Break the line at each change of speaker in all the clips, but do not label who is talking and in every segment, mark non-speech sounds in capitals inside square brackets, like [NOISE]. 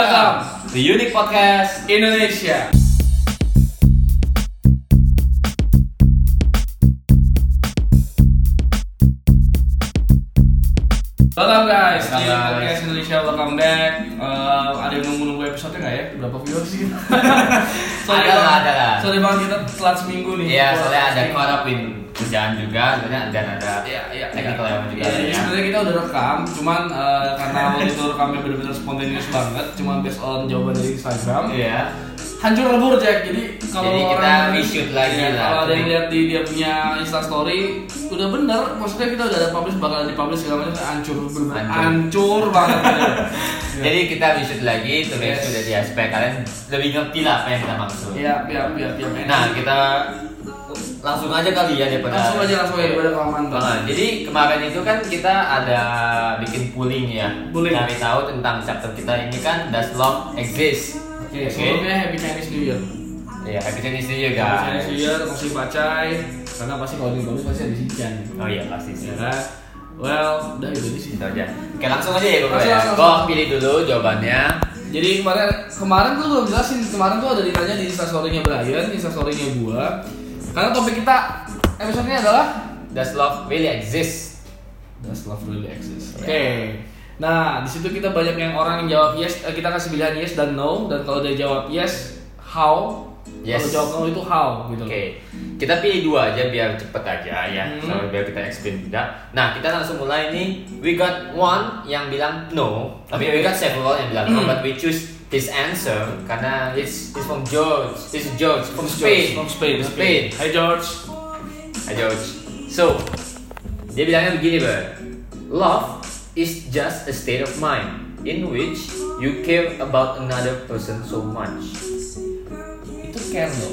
Welcome to Unique Podcast
Indonesia. Welcome guys,
Welcome,
di
guys.
Podcast Indonesia, welcome back. Eh, ada yang nunggu-nunggu episode nggak ya? Berapa viewers sih? [LAUGHS] sorry
Ada lah,
banget.
ada lah.
Sorry banget kita telat seminggu nih.
Iya, soalnya ada
Seminggu.
caught up in kerjaan juga, sebenarnya dan ada
Iya, iya,
technical
iya.
yang juga.
Iya, jadi
ya.
sebenarnya kita udah rekam, cuman eh, karena waktu itu rekamnya benar-benar spontaneous banget, cuman based on jawaban dari Instagram.
Iya.
hancur lebur Jack jadi kalau
Jadi kita
orang-
reshoot lagi
Iya,
lah.
kalau ada yang lihat di dia punya instastory udah bener maksudnya kita udah ada publish bakal dipublish segala macam hancur bener
Hancur.
hancur [LAUGHS] banget
Jadi kita visit lagi, tulis
Yes.
sudah di aspek kalian lebih ngerti lah apa yang kita maksud.
ya ya ya ya
Nah, kita langsung aja kali ya daripada
langsung aja langsung aja pada kelamaan
Nah, jadi kemarin itu kan kita ada bikin pooling ya,
Pooling.
cari tahu tentang chapter kita ini kan Does Love Exist?
oke sebelumnya happy Chinese New Year
Ya, happy Chinese New Year
happy
guys.
Chinese New Year masih bacai karena pasti kalau di bagus pasti ada sinchan
Oh iya pasti sih.
ya kan well udah itu sih
Gitu aja. Oke langsung aja ya gue
Langsung,
ya.
langsung,
Gue
langsung.
pilih dulu jawabannya.
Jadi kemarin kemarin tuh belum jelasin kemarin tuh ada ditanya di instastorynya Brian, instastorynya gua. Karena topik kita episode-nya adalah
Does love really exist?
Does love really exist? Oke.
Ya.
Nah di situ kita banyak yang orang yang jawab yes. eh, Kita kasih pilihan yes dan no. Dan kalau dia jawab yes, how.
Yes.
Kalau jawab no itu how gitu.
Oke. Kita pilih dua aja biar cepet aja ya.
Hmm.
Sama biar kita explain tidak. Nah kita langsung mulai nih. We got one yang bilang no. Tapi we got several yang bilang no.
Hmm.
But we choose this answer karena it's it's from George. It's George from Spain.
From Spain.
From Spain.
Hi George.
Hi George. So dia bilangnya begini ber. Love is just a state of mind in which you care about another person so much.
Itu care no.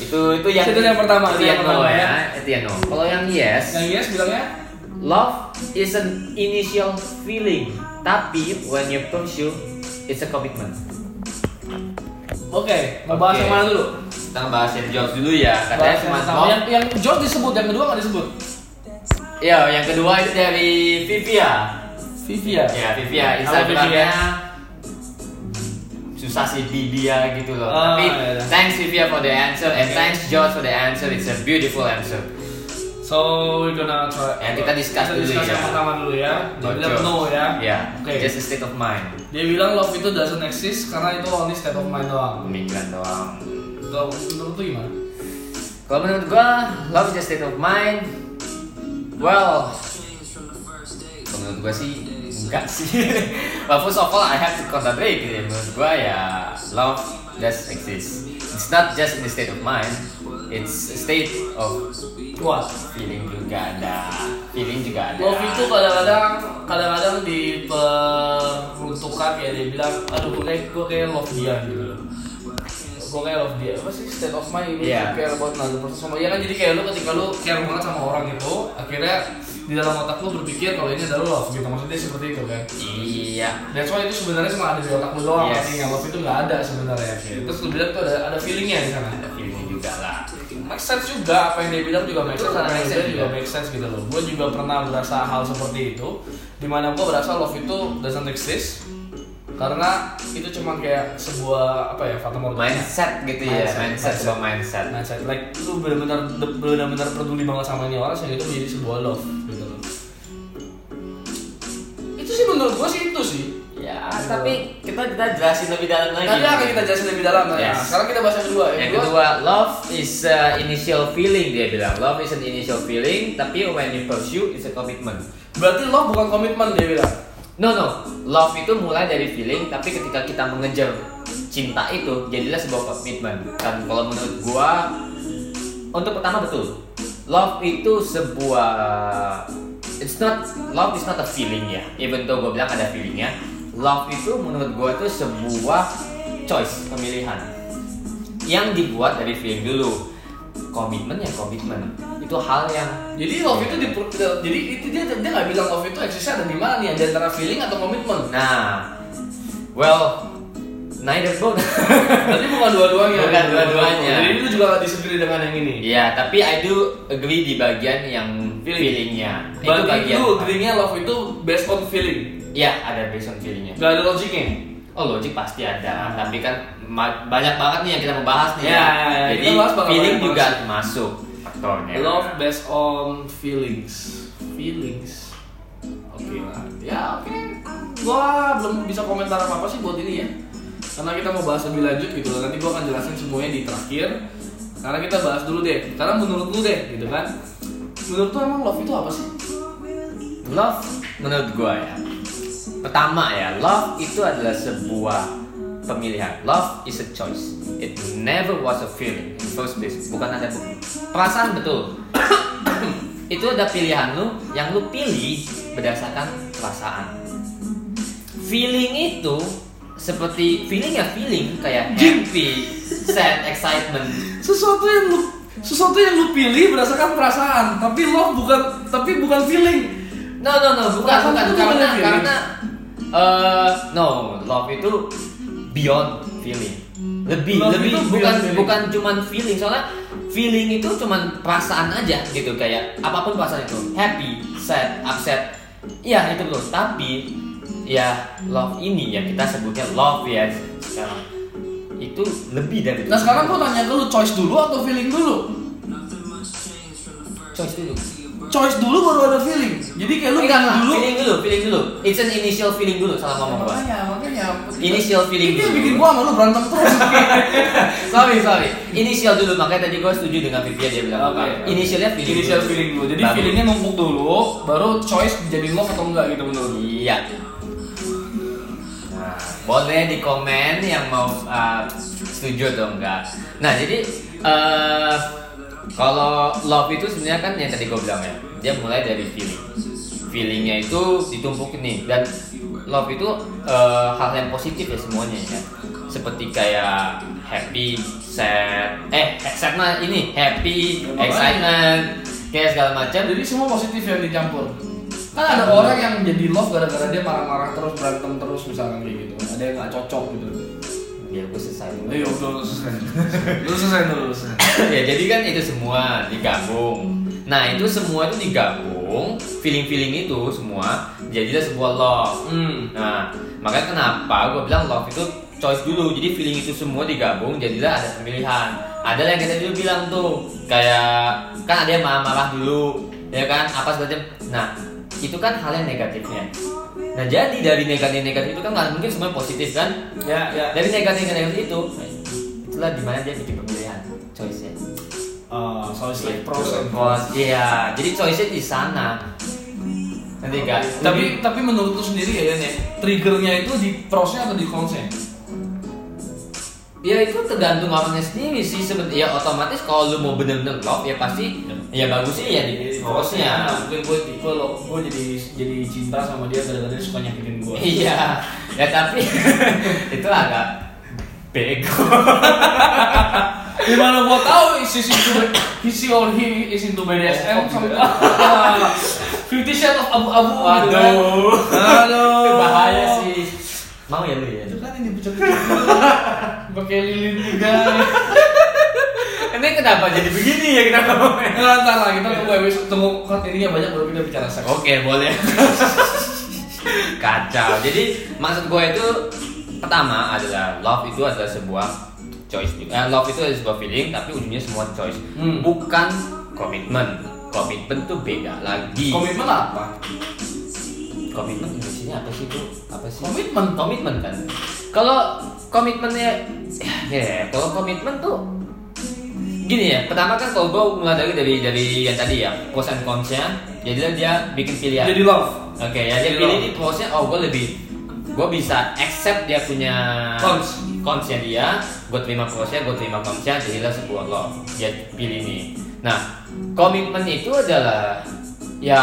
itu itu yang
Itu yang pertama,
itu
itu yang
yang no ya
pertama, ya.
itu yang no kalau yang yes
Yang yes bilangnya
love is an initial feeling tapi when you pursue it's a commitment
oke. Mau bahas
Oke.
yang mana dulu?
kita bahas yang George dulu ya katanya
Bahas yang
cuma
pertama.
love
yang, yang George disebut, yang kedua nggak disebut.
ya yang kedua itu dari Vivia
Vivia.
ya Vivia
Halo,
Instagramnya
Vivia.
susah sih Vivia gitu loh
Ah,
tapi
iya, iya.
thanks Vivia for the answer and
Oke.
thanks George for the answer it's a beautiful answer
So we're gonna try.
Ya, kita discuss dulu
discuss
ya.
yang pertama dulu ya. Dia
About
bilang
George.
no ya.
ya
Oke.
just a state of mind
Dia bilang love itu doesn't exist karena itu only state of mind doang.
pemikiran doang
Kalau menurut lu gimana?
Kalau menurut gua, love is a state of mind. Well, kalau menurut gua sih enggak sih. [LAUGHS] But first of all, I have to concentrate. Gitu. ya. Menurut gua ya, love does exist. It's not just in the state of mind. It's a state of
Wah,
feeling juga ada. Feeling juga ada.
love itu kadang-kadang kadang-kadang diperuntukkan ya dia bilang, aduh gue kayak gue kayak love dia gitu loh. Gue kayak love dia. Apa sih state of mind ini?
Iya.
Care about another person. Sama ya kan jadi kayak lu ketika lu care banget sama orang itu, akhirnya di dalam otak lu berpikir kalau ini adalah love gitu. Maksudnya seperti itu kan.
Iya.
That's why itu sebenarnya cuma ada di otak lu doang,
Yes.
yes. yang love itu nggak ada sebenarnya. Terus lu bilang tuh ada ada feelingnya di sana.
Ada feeling juga lah.
Make sense juga apa yang dia bilang juga make
Itu
sense, karena
make
make
sense
sense juga
juga.
make sense gitu loh. Gue juga pernah merasa hal seperti itu, dimana gue merasa love itu doesn't exist karena itu cuma kayak sebuah apa ya fata morgana.
Mindset gitu ya.
Mindset,
Mindset, sebuah mindset.
Mindset, like lu benar-benar benar-benar peduli banget sama ini orang sehingga itu menjadi sebuah love gitu loh. Itu sih menurut gue sih itu sih.
Ya, tapi kita kita jelasin lebih dalam lagi.
Nanti akan kita jelasin lebih dalam. Nah,
Yes.
sekarang kita bahas yang kedua.
Yang kedua, love is a initial feeling dia bilang. Love is an initial feeling, tapi when you pursue it's a commitment.
berarti love bukan komitmen dia bilang.
No no, love itu mulai dari feeling, tapi ketika kita mengejar cinta itu jadilah sebuah komitmen. Dan kalau menurut gua, untuk pertama betul, love itu sebuah it's not love is not a feeling ya. Even though gua bilang ada feelingnya, love itu menurut gua itu sebuah choice pemilihan yang dibuat dari feeling dulu komitmen ya komitmen itu hal yang
Jadi love itu di jadi itu dia dia nggak bilang love itu eksisnya ada di mana nih? Di antara feeling atau komitmen?
nah well neither both
Berarti bukan dua-duanya.
Bukan dua-duanya.
Jadi itu juga nggak disetujui dengan yang ini.
ya tapi I do agree di bagian yang
Feeling.
feelingnya itu
Berarti
bagian
itu agree-nya love itu based on feeling.
Iya, ada based on feelingnya.
Gak ada logiknya.
Oh logic pasti ada, tapi kan ma- banyak banget nih yang kita mau bahas nih.
Ya, ya,
Jadi
kita bahas bakal
feeling
banyak
juga masuk faktornya.
Love based on feelings. Feelings. Oke lah. Ya oke. Gua belum bisa komentar apa apa sih buat ini ya. Karena kita mau bahas lebih lanjut gitu loh. Nanti gua akan jelasin semuanya di terakhir. Karena kita bahas dulu deh. Karena menurut lu deh gitu kan. Menurut tuh emang love itu apa sih?
Love menurut gua ya. Pertama ya, love itu adalah sebuah pemilihan. Love is a choice. It never was a feeling in first place. Bukan ada perasaan betul. [COUGHS] itu ada pilihan lu yang lu pilih berdasarkan perasaan. Feeling itu seperti feeling ya feeling kayak happy, sad, excitement,
Sesuatu yang lu sesuatu yang lu pilih berdasarkan perasaan. Tapi love bukan tapi bukan feeling.
No no no bukan
Perasaan
bukan
itu
karena
bener, ya?
karena eh no love itu beyond feeling lebih
Love
lebih
itu
bukan
beyond feeling.
bukan cuman feeling soalnya feeling itu cuman perasaan aja gitu kayak apapun perasaan itu happy sad upset ya itu loh tapi ya love ini ya kita sebutnya love ya sekarang itu lebih dari
Nah sekarang gua tanya ke lu choice dulu atau feeling dulu?
choice dulu
Choice dulu baru ada feeling. Jadi kayak
Eh,
lu pilih
enggak,
dulu.
feeling dulu feeling dulu it's an initial feeling dulu salah ngomong gua
Makanya, makanya.
Initial feeling
Ini yang
dulu.
bikin gua sama lu berantem
[LAUGHS]
terus.
sorry sorry inisial dulu makanya tadi gue setuju dengan Vivi dia bilang
Oke.
apa inisialnya feeling
Initial
dulu.
feeling dulu. Jadi
Baru.
feelingnya numpuk dulu, baru choice dijadiin love atau enggak gitu menurut lu.
iya nah, boleh di komen yang mau uh, setuju atau enggak nah jadi eh kalau love itu sebenarnya kan yang tadi gue bilang ya dia mulai dari feeling feelingnya itu ditumpuk nih dan love itu eh, hal yang positif ya semuanya ya seperti kayak happy, sad, eh sad mah ini happy,
Apa?
excitement, kayak segala macam.
Jadi semua positif yang dicampur. Kan ada orang yang jadi love gara-gara dia marah-marah terus berantem terus misalkan kayak gitu. Ada yang nggak cocok gitu.
Biar gue selesai dulu.
Ayo udah lu selesai. Lu selesai dulu, lu selesai.
ya jadi kan itu semua digabung nah itu semua itu digabung feeling feeling itu semua jadilah sebuah love
Hmm.
nah makanya kenapa gue bilang love itu choice dulu jadi feeling itu semua digabung jadilah ada pemilihan ada yang kita dulu bilang tuh kayak kan ada yang marah-marah dulu ya kan apa segala macam nah itu kan hal yang negatifnya nah jadi dari negatif negatif itu kan nggak mungkin semuanya positif kan
Ya, ya.
dari negatif negatif itu itulah dimana dia bikin pemilihan choice nya
Uh, so it's like pros and cons.
Pros, iya. Jadi choice-nya di sana. Nanti enggak.
Tapi tapi menurut lu sendiri ya Yan ya, triggernya itu di prosnya atau di consnya?
ya itu tergantung orangnya sendiri sih seperti ya otomatis kalau lu mau bener-bener love ya pasti ya bagusnya ya di prosnya.
Iya, mungkin gue gue lo gue jadi jadi cinta sama dia gara-gara dia suka nyakitin gue
[LAUGHS] Iya. Ya tapi [LAUGHS] itu agak bego.
gimana gue tahu is is into is he or he is into
Oh,
BDSM sama
iya.
[LAUGHS] Fifty Shades of Abu-Abu gitu kan.
Waduh. [LAUGHS]
aduh
Bahaya sih. Mau ya lu ya?
itu kan ini pecah-pecah pakai lilin juga
Ini kenapa jadi begini ya kenapa?
Nah, ntar lah kita tunggu episode tunggu kontennya banyak baru kita bicara seks
Oke boleh. Kacau. Jadi maksud gue itu pertama adalah love itu adalah sebuah choice. Eh, love itu adalah sebuah feeling tapi ujungnya semua choice.
Hmm.
Bukan komitmen. Komitmen tuh beda lagi.
komitmen apa
komitmen Indonesia apa sih itu? Apa sih?
Komitmen.
Komitmen kan. Kalau komitmennya ya kalau komitmen tuh gini ya pertama kan kalau gue mulai dari dari dari yang tadi ya pros and cons-nya jadilah dia bikin pilihan
jadi love
Oke, ya dia
Jadi
pilih
lo-
ini plusnya oh gue lebih gue bisa accept dia punya
Cons.
consnya dia, gue terima plusnya, gue terima consnya, jadilah sebuah love. Dia pilih ini. Nah, komitmen itu adalah ya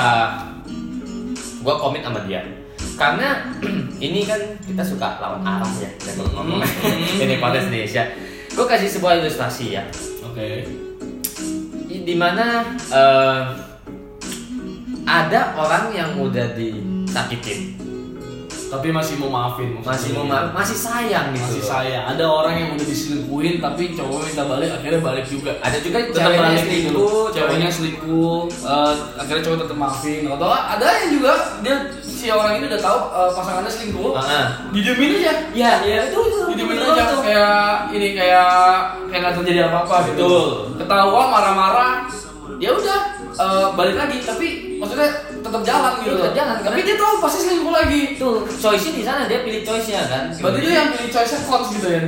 gue komit sama dia. Karena [CLEARS THROAT] ini kan kita suka lawan arah ya, kita kalau ngomong [LAUGHS]
Hmm.
ini podcast Indonesia. Gue kasih sebuah ilustrasi ya
oke
di di mana eh, ada orang yang udah disakitin
tapi masih mau maafin maksudnya.
masih mau ma- masih sayang gitu
masih sayang ada orang yang udah diselingkuhin tapi cowok minta balik akhirnya balik juga
ada juga
tetap
ceweknya
balik gitu
selingkuh
ceweknya
ceweknya
selingkuh eh, akhirnya cowok tetap maafin atau ada yang juga dia si orang ini udah tahu eh, pasangannya selingkuh
Heeh.
didiemin aja
Iya, Ah. iya itu itu.
didiemin aja kayak ini kayak kayak nggak terjadi apa apa gitu
Betul.
ketahuan marah-marah ya udah eh, balik lagi tapi maksudnya tetap jalan gitu
Tetap jalan, kan?
tapi
karena-
dia tahu pasti selingkuh lagi
Itu choice di sana dia pilih choice-nya kan.
berarti dia yang pilih choice nya close gitu ya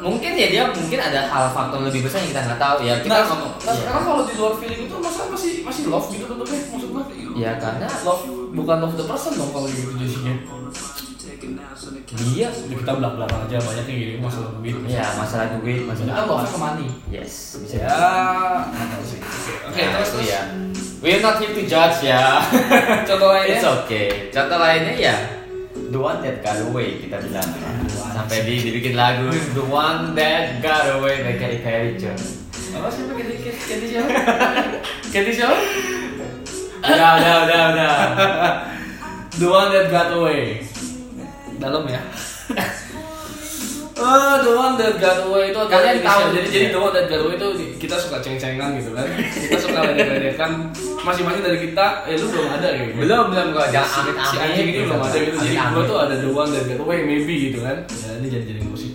mungkin ya dia mungkin ada hal faktor lebih besar yang kita nggak tahu ya kita
nah,
ngomong.
nah
Iya.
sekarang kalau di luar feeling itu masa masih masih love gitu bentuknya maksud gua
Ya karena
love bukan love the person dong kalau gitu jadinya
dia
kita belak belakang aja banyak yang gini masalah duit
ya masalah duit, masalah
kita bawa
apa.
ke money
Yes, bisa.
ya nggak tahu sih. oke oke,
Nah,
terus
itu
terus
ya. We're not here to judge ya.
contoh
It's
lainnya
okay. Contoh lainnya ya The one that got away kita bilang sampai di, dibikin lagu The one that got away by Katy Perry John.
apa sih pakai dikit ganti siapa [LAUGHS] ganti siapa
Udah udah udah udah.
the one that got away dalam ya [LAUGHS] Oh, the one that got away itu adalah
Kalian
inisial.
tahu. ya?
jadi jadi the one that got away itu di- kita suka ceng-cengan gitu kan kita suka ledek-ledekan masing-masing dari kita eh lu belum ada gitu
belum belum kok jangan amit amit.
si anjing ini belum ada gitu jadi gue tuh ada the one that got away maybe gitu kan ya ini jadi jadi [LAUGHS] musik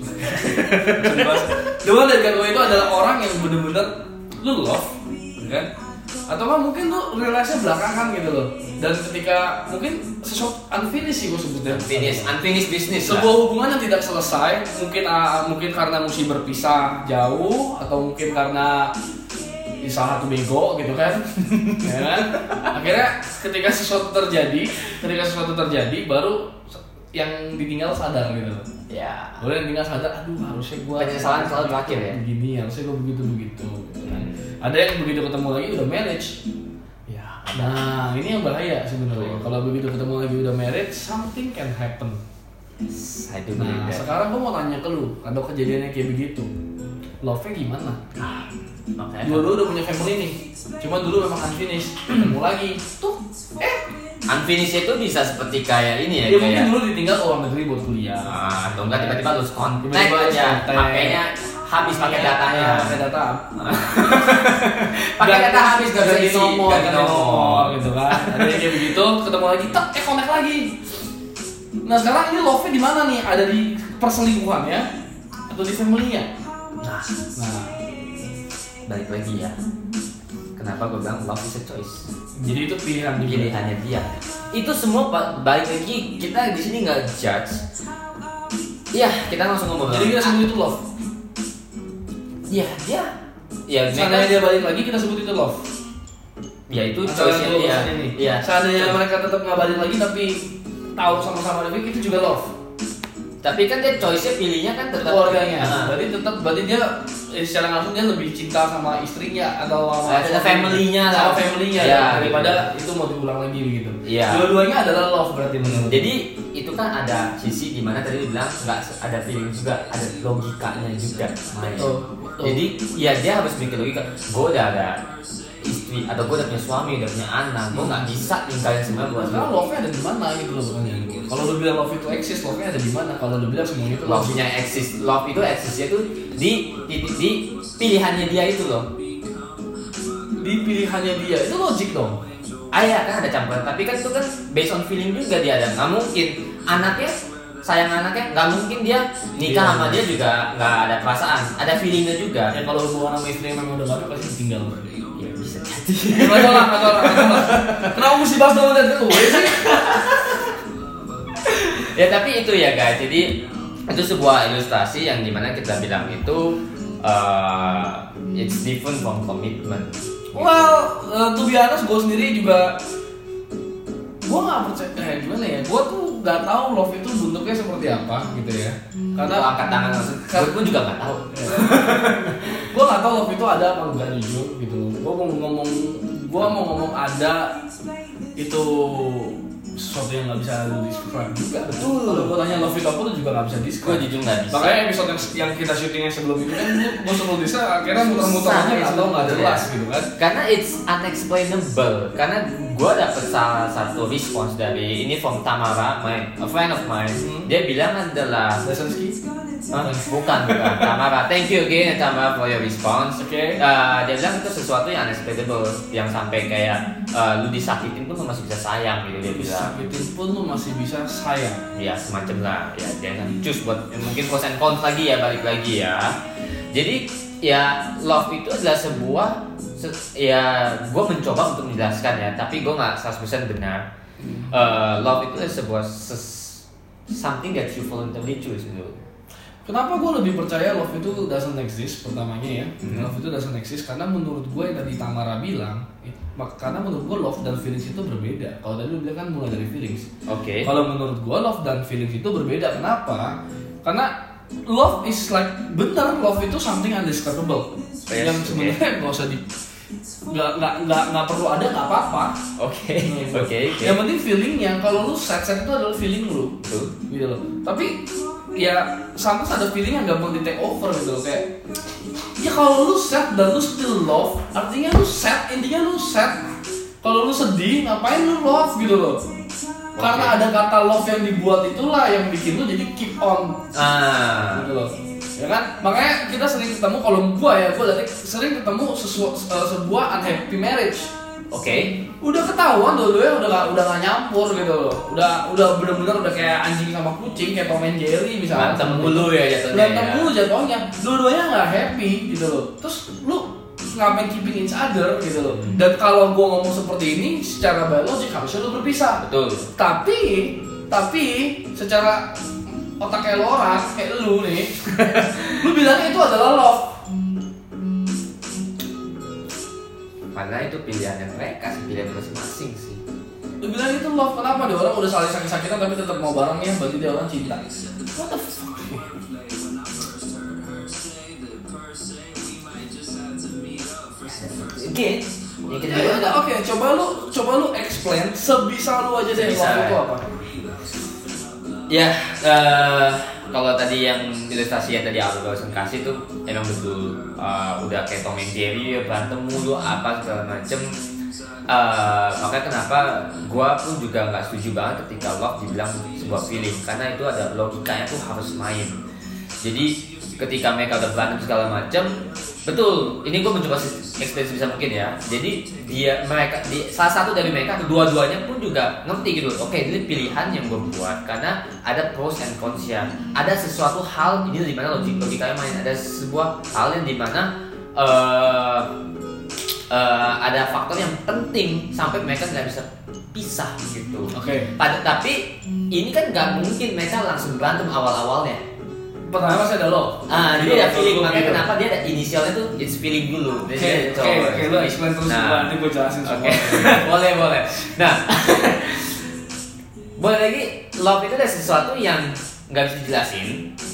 the one that got away itu adalah orang yang bener-bener lu love gitu kan atau mah mungkin lu relasinya belakangan gitu loh dan ketika mungkin sesuatu unfinished sih gue sebutnya
unfinished unfinished business. lah.
Nah. sebuah hubungan yang tidak selesai mungkin ah, mungkin karena musim berpisah jauh atau mungkin karena di salah satu bego gitu kan [LAUGHS] ya kan? akhirnya ketika sesuatu terjadi ketika sesuatu terjadi baru yang ditinggal sadar gitu
ya
baru yang ditinggal sadar aduh harusnya gua gitu,
Penyesalan selalu terakhir ya? Hmm.
begini harusnya gua begitu begitu gitu kan. ada yang begitu ketemu lagi udah marriage
ya
nah ini yang bahaya sebenarnya kalau begitu ketemu lagi udah marriage something can happen
I do believe
Nah,
that.
sekarang gue mau tanya ke lu, kalau kejadiannya kayak begitu, love-nya gimana?
Ah, makanya
Dua-dua udah punya family nih, cuma dulu memang unfinished, [CLEARS THROAT] ketemu lagi, tuh, eh,
unfinished itu bisa seperti kayak ini ya,
ya
kayak
mungkin dulu ditinggal ke luar negeri buat kuliah.
Ah, atau enggak tiba-tiba lu kontak
Tiba-tiba lose
aja
contact.
pakainya habis pakai datanya
Iya, pakai data,
pakai data
Ganti-
habis gak bisa
ganti
diisi
nomor,
ganti
ganti
nomor
nomor, gitu
[LAUGHS]
kan. Ada yang kayak begitu, ketemu lagi, tek, eh connect lagi. Nah sekarang ini love-nya di mana nih? Ada di perselingkuhan ya, atau di family-nya?
nah
Nah,
balik lagi ya kenapa gue bilang love is a choice
jadi itu pilihan juga.
pilihannya dia itu semua ba- balik lagi kita di sini nggak judge Iya, kita langsung ngomong.
Jadi kita sebut itu love.
Iya, dia. Ya,
Seandainya
mereka,
dia balik lagi kita sebut itu love.
ya itu
Masalah
choice-nya
dua
dia.
persen ini.
Iya.
Seandainya mereka tetap nggak balik lagi tapi tahu sama-sama lebih itu juga love.
Tapi kan dia choice-nya pilihnya kan
Itu
tetap
keluarganya.
Ah.
Berarti tetap berarti dia eh, secara langsung dia lebih cinta sama istrinya atau sama
Eh, ada family-nya lah.
Sama family-nya
Ya,
ya, daripada itu mau diulang lagi begitu.
Iya.
Dua-duanya adalah love berarti menurut.
Jadi itu kan ada sisi dimana tadi lu bilang nggak se- ada feeling juga, ada logikanya juga. main.
Betul, betul.
Jadi ya dia harus mikir logika. Gue udah ada istri atau gue udah punya suami, udah punya anak, gue nggak bisa ninggalin semua buat
Sekarang
lo.
love-nya ada di mana gitu loh sebenarnya. Kalau lu bilang love itu eksis, love-nya ada di mana? Kalau lu bilang semuanya itu love.
Love-nya eksis, love itu eksisnya tuh di, di, di pilihannya dia itu loh.
Di pilihannya dia itu logik dong.
Ayah kan ada campuran, tapi kan itu kan based on feeling juga dia ada. Nggak mungkin anaknya sayang anaknya nggak mungkin dia nikah
Iya.
sama dia juga nggak ada perasaan, ada feelingnya juga.
Ya kalau hubungan sama istri memang udah baru pasti ditinggal.
Ya bisa jadi.
Gak tolak, gak tolak, gak tolak. Kenapa mesti bahas dalam dan gue sih?
ya tapi itu ya guys jadi itu sebuah ilustrasi yang dimana kita bilang itu uh, it's different from commitment
Well, eh, to be honest, gue sendiri juga gue nggak percaya eh, gimana ya gue tuh nggak tahu love itu bentuknya seperti apa gitu ya
karena
karena
angkat tangan langsung gue pun juga nggak
[LAUGHS]
tahu
gue nggak tahu love itu ada apa enggak jujur gitu gue mau ngomong gue mau ngomong ada itu sesuatu yang nggak bisa lu describe juga betul kalau gue tanya love itu apa lu juga nggak bisa
gue
describe
jujur nggak bisa
Makanya episode yang, yang kita syutingnya sebelum itu kan gue sebelum desa akhirnya muter-muter
Susah,
aja
ya,
atau nggak
sebelum
jelas
itu ya.
gitu kan.
karena it's unexplainable karena gue dapet salah satu respons dari ini from Tamara, my a friend of mine.
Hmm.
Dia bilang adalah
Lesenski
"Hah, bukan bukan Tamara. Thank you again Tamara for your response.
Oke.
Eh, dia bilang itu sesuatu yang unexpectable yang sampai kayak eh, lu disakitin pun lu masih bisa sayang gitu dia bilang.
Disakitin pun lu masih bisa sayang
ya semacam lah ya jangan cus buat ya, mungkin pros and cons lagi ya balik lagi ya jadi ya love itu adalah sebuah se- ya gue mencoba untuk menjelaskan ya tapi gue nggak 100% benar Eh, love itu adalah sebuah ses- something that you voluntarily choose gitu
Kenapa gue lebih percaya love itu doesn't exist pertamanya ya
Hmm.
Love itu doesn't exist karena menurut gue yang tadi Tamara bilang it- mak- Karena menurut gue love dan feelings itu berbeda Kalau tadi lu bilang kan mulai dari feelings
oke
Kalau menurut gua love dan feelings itu berbeda. Kenapa? Karena love is like bener love itu something undescribable
Yes,
yang sebenarnya nggak usah di nggak nggak nggak nggak perlu ada nggak apa-apa.
oke oke oke
Yang penting feelingnya. Kalau lu sad sad itu adalah feeling lu
Tuh.
gitu loh. Tapi ya sometimes ada feeling yang gampang di take over gitu loh. kayak ya kalau lu sad dan lu still love artinya lu sad intinya lu sad kalau lu sedih ngapain lu love gitu loh karena ada kata love yang dibuat itulah yang bikin lu jadi keep on
ah
gitu loh ya kan makanya kita sering ketemu kalau gua ya gua liatnya sering ketemu sesua- se- sebuah unhappy marriage
oke
udah ketahuan dua-duanya udah gak, udah gak nyampur gitu loh udah udah bener-bener udah kayak anjing sama kucing kayak Tom and Jerry misalnya
berantem mulu ya jatuhnya
berantem
ya.
mulu jatuhnya dua-duanya nggak happy gitu loh terus lu ngapain keeping each other gitu loh
Hmm.
dan kalau gua ngomong seperti ini secara biologis harusnya lu berpisah
betul
tapi tapi secara otak kayak Laura kayak lu nih [LAUGHS] lu bilangnya itu adalah love
karena itu pilihannya mereka sih pilihan masing-masing sih
lu bilang itu love kenapa dia orang udah saling sakit-sakitan tapi tetap mau bareng ya berarti dia orang cinta what the fuck
Oke, ini kita
Ya udah, oke coba lu coba lu explain sebisa lu aja deh
Bisa.
love itu apa
Ya, eh, kalau tadi yang ilustrasi yang tadi aku barusan kasih tuh emang betul eh, udah kayak Tom and Jerry ya, berantem mulu apa segala macem. Eh, makanya kenapa gua pun juga nggak setuju banget ketika love dibilang sebuah feeling karena itu ada logikanya tuh harus main. Jadi ketika mereka udah berantem segala macem, betul. Ini gue mencoba se- explain sebisa mungkin ya. Jadi dia mereka di, salah satu dari mereka atau dua-duanya pun juga ngerti gitu. Oke, ini pilihan yang gue buat karena ada pros and cons ya. Ada sesuatu hal ini di mana logik logikanya main. Ada sebuah hal yang di mana eh, eh, ada faktor yang penting sampai mereka nggak bisa pisah gitu.
oke
Pada, tapi ini kan nggak mungkin mereka langsung berantem awal-awalnya.
pertama masih ada love
Ah,
Gitu,
dia ada feeling,
gitu,
makanya
gitu.
kenapa dia ada inisialnya tuh it's feeling dulu.
Oke, oke, oke, lu explain terus
Nah.
gua, nanti gue jelasin
Oke,
semua.
[LAUGHS] boleh boleh. Nah, [LAUGHS] boleh lagi love itu ada sesuatu yang nggak bisa dijelasin.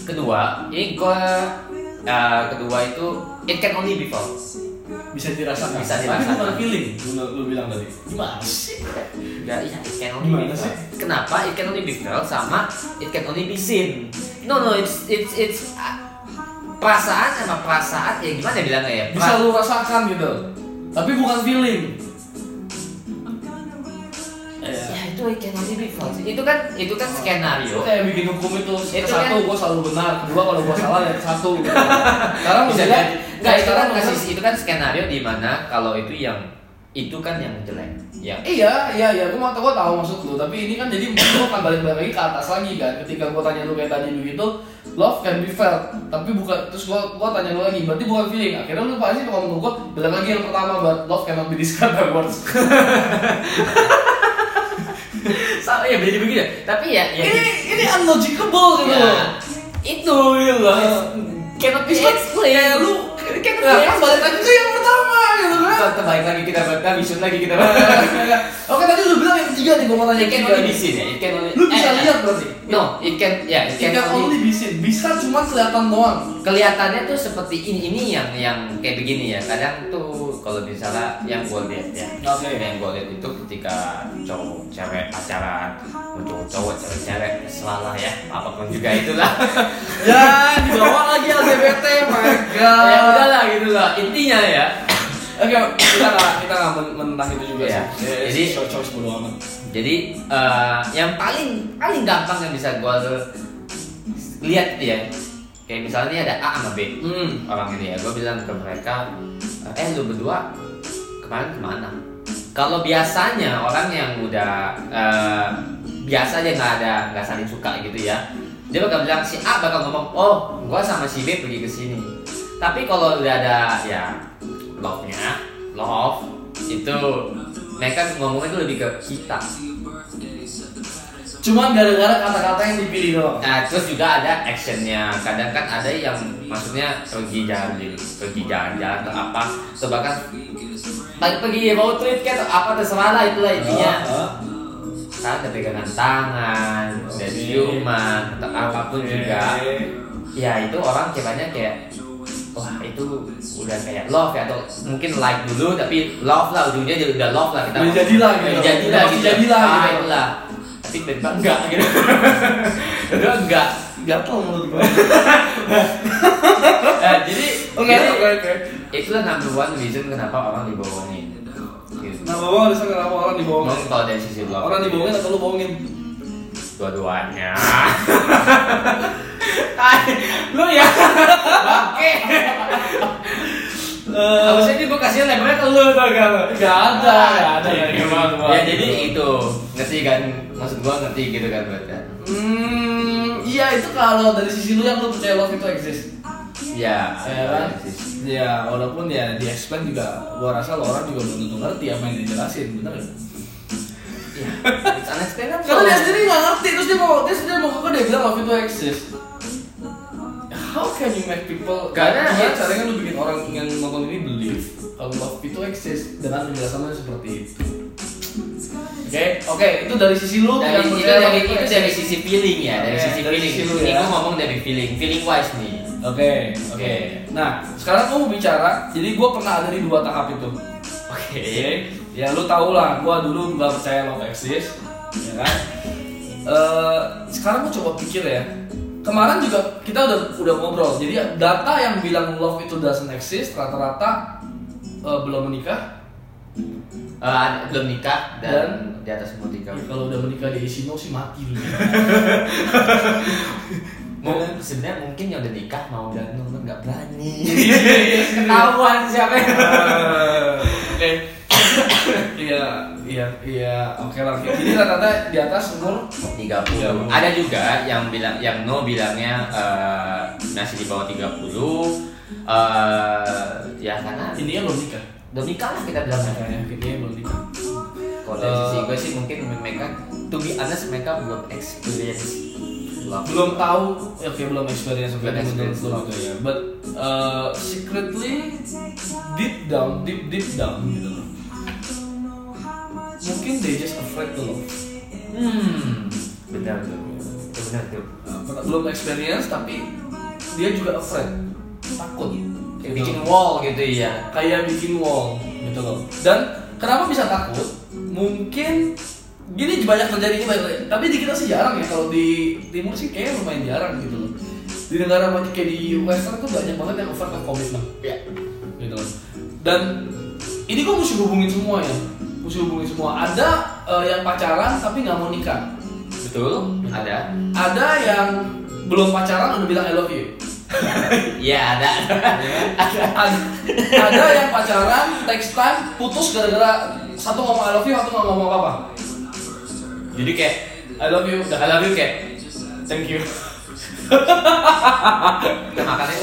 Kedua, ini gua eh, kedua itu it can only be felt.
Bisa dirasakan.
Bisa
Tapi
dirasakan.
bukan feeling, lu, lu bilang tadi. Gimana sih?
Ya, iya, it can only be
Gimana
felt.
sih?
Kenapa it can only be felt sama it can only be seen? No no, it's it's it's ah, perasaan sama perasaan ya gimana bilangnya ya?
Bisa lu rasakan gitu. Tapi bukan feeling. Iya.
Ya itu I can only be false. Itu kan itu kan skenario.
Itu kayak bikin hukum itu,
Itu kan-
satu gua selalu benar, kedua kalau gua salah ya [LAUGHS] satu. Sekarang lu
Bisa
bilang,
jadi. Enggak, itu kan
sekarang lu
kasus
bilang,
itu kan skenario di mana kalau itu yang itu kan yang jelek. Yang
Iya, iya, iya, gua mau gua tahu maksud lu, tapi ini kan jadi gua akan balik-balik lagi ke atas lagi kan. Ketika gua tanya lu kayak tadi begitu, love can be felt, tapi bukan terus gua gua tanya lu lagi, berarti bukan feeling. Akhirnya lu pasti kalau menurut gua bilang lagi yang pertama buat love cannot be described
[LAUGHS]
by words.
sama ya jadi begini. Tapi ya ya
ini ini unlogicable gitu
ya,
loh.
itu gitu loh. Cannot be
It's not-
explained.
kayak lu
cannot
Nah,
be
kan balik lagi ke yang pertama gitu kan.
explained. Terbaik lagi kita bakal vision lagi kita
Oke tadi lu bilang yang ketiga nih gua mau tanya
It can
yang
only be
ketiga.
seen ya. It can only.
Lu bisa
eh,
lihat berarti.
No, it can ya it can
Tiga
only
only bisa, bisa cuma kelihatan doang.
kelihatannya tuh seperti ini ini yang yang kayak begini ya kadang tuh kalau misalnya yang gue lihat ya
Oke.
yang gue lihat itu ketika cowok cewek pacaran mau cowok cowok cewek cewek selalah ya apapun juga
[LAUGHS]
itulah
Ya dibawa lagi LGBT, my
ya udahlah gitu lah intinya ya
Oke, kita nggak kita nggak men- menentang itu juga
Iya.
sih. Ya,
Jadi-
short choice bodo amat.
Jadi eh, yang paling paling gampang yang bisa gue lihat itu ya kayak misalnya ini ada A sama B
Hmm.
orang ini ya gue bilang ke mereka eh lu berdua kemarin kemana kalau biasanya orang yang udah eh, biasa aja nggak ada nggak saling suka gitu ya dia bakal bilang si A bakal ngomong oh gue sama si B pergi ke sini tapi kalau udah ada ya love nya love itu mereka ngomongnya itu lebih ke kita
Cuman gara-gara kata-kata yang dipilih doang.
Nah, terus juga ada actionnya. Kadang kan ada yang maksudnya pergi jalan pergi jalan-jalan atau apa, atau bahkan pergi, pergi road trip kayak atau apa terserah lah itulah intinya.
Ah,
Kan ada pegangan tangan, ada
Oke.
ciuman, atau
ah.
apapun
Oke.
juga. Ya itu orang ceweknya kayak wah itu udah kayak love ya atau mungkin like dulu tapi love lah ujungnya jadi udah love lah kita
Udah jadilah gitu.
Udah jadilah
Udah pasti
gitu
jadilah
Ah,
gitu.
itulah. tapi tiba enggak
[LAUGHS]
gitu udah enggak
Gatel menurut gua.
Eh, jadi
Oke,
jadi-
oke, oke.
itulah number one reason kenapa orang dibohongin gitu.
Nah, bawa harusnya kenapa orang dibohongin?
Mungkin kalau dari sisi lo
Orang dibohongin atau lu bohongin?
dua-duanya lu ya oke harusnya ini gue kasih labelnya ke lu tau gak lu
Gak ada, gak ada.
ya jadi itu ngerti kan maksud gua ngerti gitu kan baca
Hmm, iya itu kalau dari sisi lu yang lu percaya love itu exist.
ya
Ya kan? Ya, walaupun ya di explain juga gua rasa lo orang juga belum tentu ngerti apa yang dijelasin, bener gak?
Ya. it's kan? unexplainable
Karena kan dia sendiri nggak ngerti, terus dia mau dia sendiri mau kok dia bilang love itu exist. How can you make people?
Karena
gimana
it's-
caranya lu bikin orang yang nonton ini believe kalau love itu exist dengan penjelasannya seperti itu. Oke, oke, itu dari sisi lu
dari
yang ya?
sisi
percaya
dari
love
itu
exist.
dari sisi feeling ya dari
Oke,
sisi
dari
feeling
sisi lu
ini
ya.
gua ngomong dari feeling feeling wise nih
Oke, oke.
Oke.
Nah, sekarang gua mau bicara. Jadi gua pernah ada di dua tahap itu.
oke
Oke, ya lu tau lah, gua dulu nggak percaya love exist, ya kan? Eh, sekarang gua coba pikir ya. Kemarin juga kita udah udah ngobrol. Jadi data yang bilang love itu doesn't exist rata-rata eh, belum menikah.
Eh, belum nikah dan,
Dan?
di atas umur tiga
Ya, kalau udah menikah di Isino sih mati lu.
Mau sebenarnya mungkin yang udah nikah mau dan nonton nggak berani. [LAUGHS]
Ketahuan siapa yang Oke. Iya, iya, iya. Oke lah. oke. Jadi rata-rata di atas umur
30. Iya. Ada juga yang bilang yang no bilangnya eh, masih di bawah 30. eh ya karena
ini yang belum nikah.
udah nikah lah kita bilang
Kayaknya ini yang belum nikah.
Kalau dari sisi
Eh.
gue sih mungkin mereka to be honest mereka belum experience love.
belum tahu ya oke belum experience
Belum
belum
experience,
experience belum
belum.
gitu ya but uh, secretly deep down deep deep down gitu loh mungkin they just afraid tuh loh
Hmm. Benar tuh. Itu Benar tuh.
Uh, belum experience tapi dia juga afraid takut
Kayak bikin wall gitu ya.
kayak bikin wall gitu loh dan kenapa bisa takut mungkin gini banyak terjadi ini banyak terjadi. tapi di kita sih jarang ya kalau di timur sih kayaknya lumayan jarang gitu loh di negara banyak kayak di western tuh banyak banget yang over ke komitmen
Ya.
gitu loh dan ini kok mesti hubungin semua ya mesti hubungin semua ada eh, yang pacaran tapi nggak mau nikah
Betul. Ada.
ada yang belum pacaran udah bilang I love you
Ya ada. [LAUGHS]
ada, ada yang pacaran text time putus gara-gara satu ngomong I love you satu nggak ngomong apa-apa
Jadi kayak
I love you udah
I love you kayak [LAUGHS]
thank you
udah makannya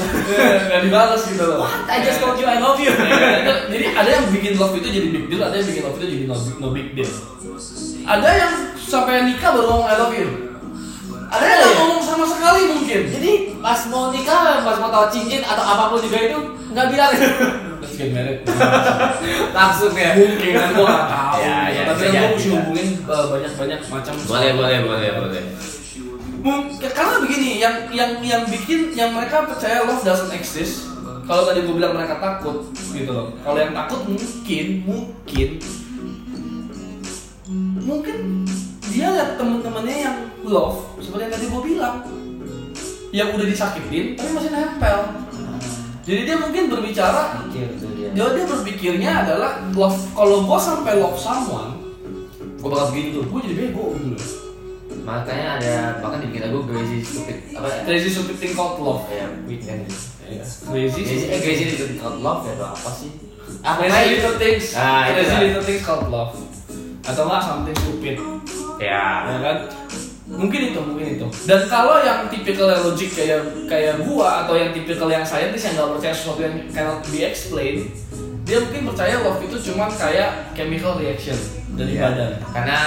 nggak dibalas gitu loh
I just told you I love you
Itu- jadi ada yang bikin love itu jadi big deal ada yang bikin love itu jadi no, no big deal ada yang sampai nikah baru ngomong I love you ada yang nggak ngomong sama sekali mungkin
Iya. Jadi pas mau nikah, pas mau tahu cincin atau apapun juga itu nggak bilang
Let's get married.
[LAUGHS] langsung ya.
mungkin kan gue nggak tahu
Ya, ya,
tapi
bisa
gue
jadi.
mesti hubungin uh, banyak iya, banyak macam
Boleh boleh boleh boleh.
Mungkin ya, karena begini, yang yang yang bikin yang mereka percaya love doesn't exist. Kalau tadi gue bilang mereka takut gitu loh. Kalau yang takut mungkin mungkin mungkin dia lihat temen-temennya yang love seperti yang tadi gue bilang yang udah disakitin tapi masih nempel Jadi dia mungkin berbicara
Mikir tuh dia.
dia dia berpikirnya adalah love kalau gua sampai love someone,
Gue bakal begini tuh.
gua jadi bego gitu loh.
Makanya ada bahkan dibikin lagu crazy stupid apa?
Crazy stupid thing called love.
Ya, weekend.
Iya. Crazy
Crazy eh, crazy stupid not love ya atau apa sih? Apa
Crazy
lagi?
little things.
Ah, itu
Crazy
lah.
little things called love. Atau enggak something stupid.
Ya.
Ya kan? Mungkin itu, mungkin itu. Dan kalau yang tipikal yang logik kayak kayak gua atau yang tipikal yang scientist yang nggak percaya sesuatu yang cannot be explained, dia mungkin percaya love itu cuma kayak chemical reaction dari
Iya.
badan.
Karena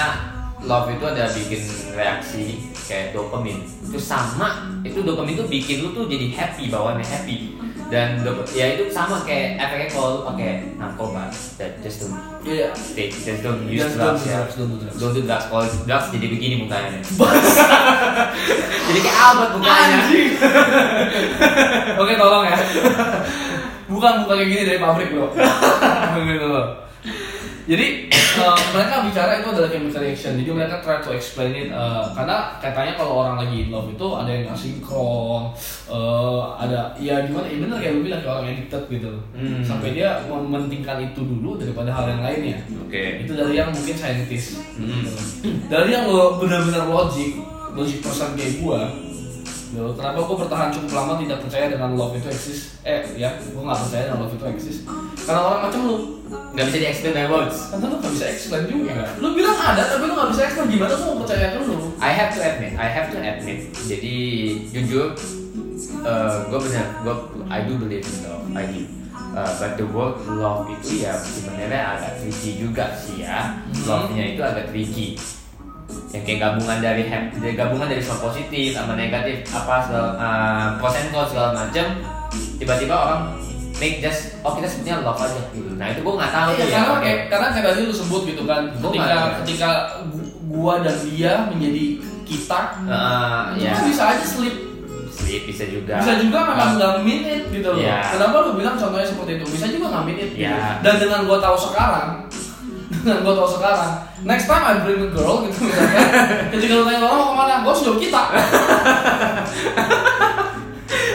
love itu ada bikin reaksi kayak dopamin. Itu sama, itu dopamin itu bikin lu tuh jadi happy bawaannya happy. Dan dop- ya itu sama kayak efeknya kalau lu pakai narkoba. That just don't
Iya.
take, just don't use
Just don't
drugs
do
ya.
drugs, don't do drugs.
Don't do drugs. Kalau drugs jadi begini
[LAUGHS]
mukanya. jadi kayak Albert mukanya.
[LAUGHS] Oke, tolong ya. Bukan bukan kayak gini dari pabrik, Bro. gitu loh. Jadi eh, mereka bicara itu adalah chemical reaction. Jadi mereka try to explain it eh, karena katanya kalau orang lagi in love itu ada yang nggak sinkron, eh, ada ya gimana? Ya bener kayak lu bilang kayak orang addicted gitu.
Hmm.
Sampai dia mementingkan itu dulu daripada hal yang lainnya.
Oke.
Itu dari yang mungkin scientist.
Hmm.
Dari yang lo benar-benar logik, logik person kayak gua. Yo, kenapa gua bertahan cukup lama tidak percaya dengan love itu eksis? Eh, ya, gua nggak percaya dengan love itu eksis. Karena orang macam lu,
Gak bisa di explain by words.
karena lu nggak bisa explain juga. Lu bilang ada, tapi lu nggak bisa explain gimana lu mau percaya ke lu?
I have to admit, I have to admit. Jadi jujur, uh, gue benar, gue I do believe in love, I do. Uh, but the word love itu ya sebenarnya agak tricky juga sih ya.
Hmm.
Love-nya itu agak tricky. Yang kayak gabungan dari hap- dari gabungan dari soal positif sama negatif apa segala uh, pros and cons segala macam. Tiba-tiba orang make just oh kita sebutnya love aja gitu. Nah itu gue nggak tahu tuh
Iya,
ya.
karena kayak karena kayak tadi lu sebut gitu kan.
Gua
Ketika
nggak-
ketika gu- gua dan dia menjadi kita,
Uh,
itu
ya
kan bisa aja slip
sleep bisa juga.
bisa juga memang nggak mean it gitu loh
Iya.
kenapa lu bilang contohnya seperti itu bisa juga nggak mean it gitu.
Iya.
dan dengan gua tahu sekarang [LAUGHS] dengan gua tahu sekarang next time I bring a girl gitu misalnya ketika lu tanya orang mau kemana gua sejauh kita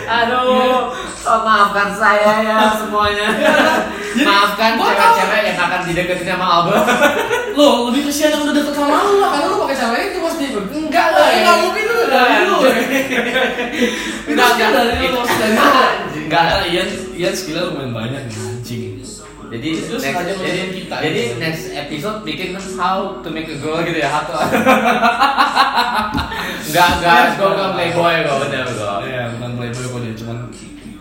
Aduh, oh, maafkan saya ya semuanya. maafkan
gua
cewek-cewek yang akan dideketin sama Albert.
lo lebih kesian yang udah deket sama lu lah karena lu pakai cara itu pasti enggak lah
Eh,
enggak mungkin itu dari lu [LAUGHS]
[LAUGHS]
itu
Enggak,
pasti
enggak. Itu-
dari lu Nah, pasti dari lu
Anjing.
enggak
iya,
Ian Ian skillnya lumayan banyak nih anjing
Jadi
Lu
next,
sengaja
jadi,
menjatuhin kita.
jadi next episode bikin how to make a girl gitu ya, how to. [LAUGHS] Enggak, enggak, gue bukan playboy gue bener gue.
ya bukan playboy kok dia cuman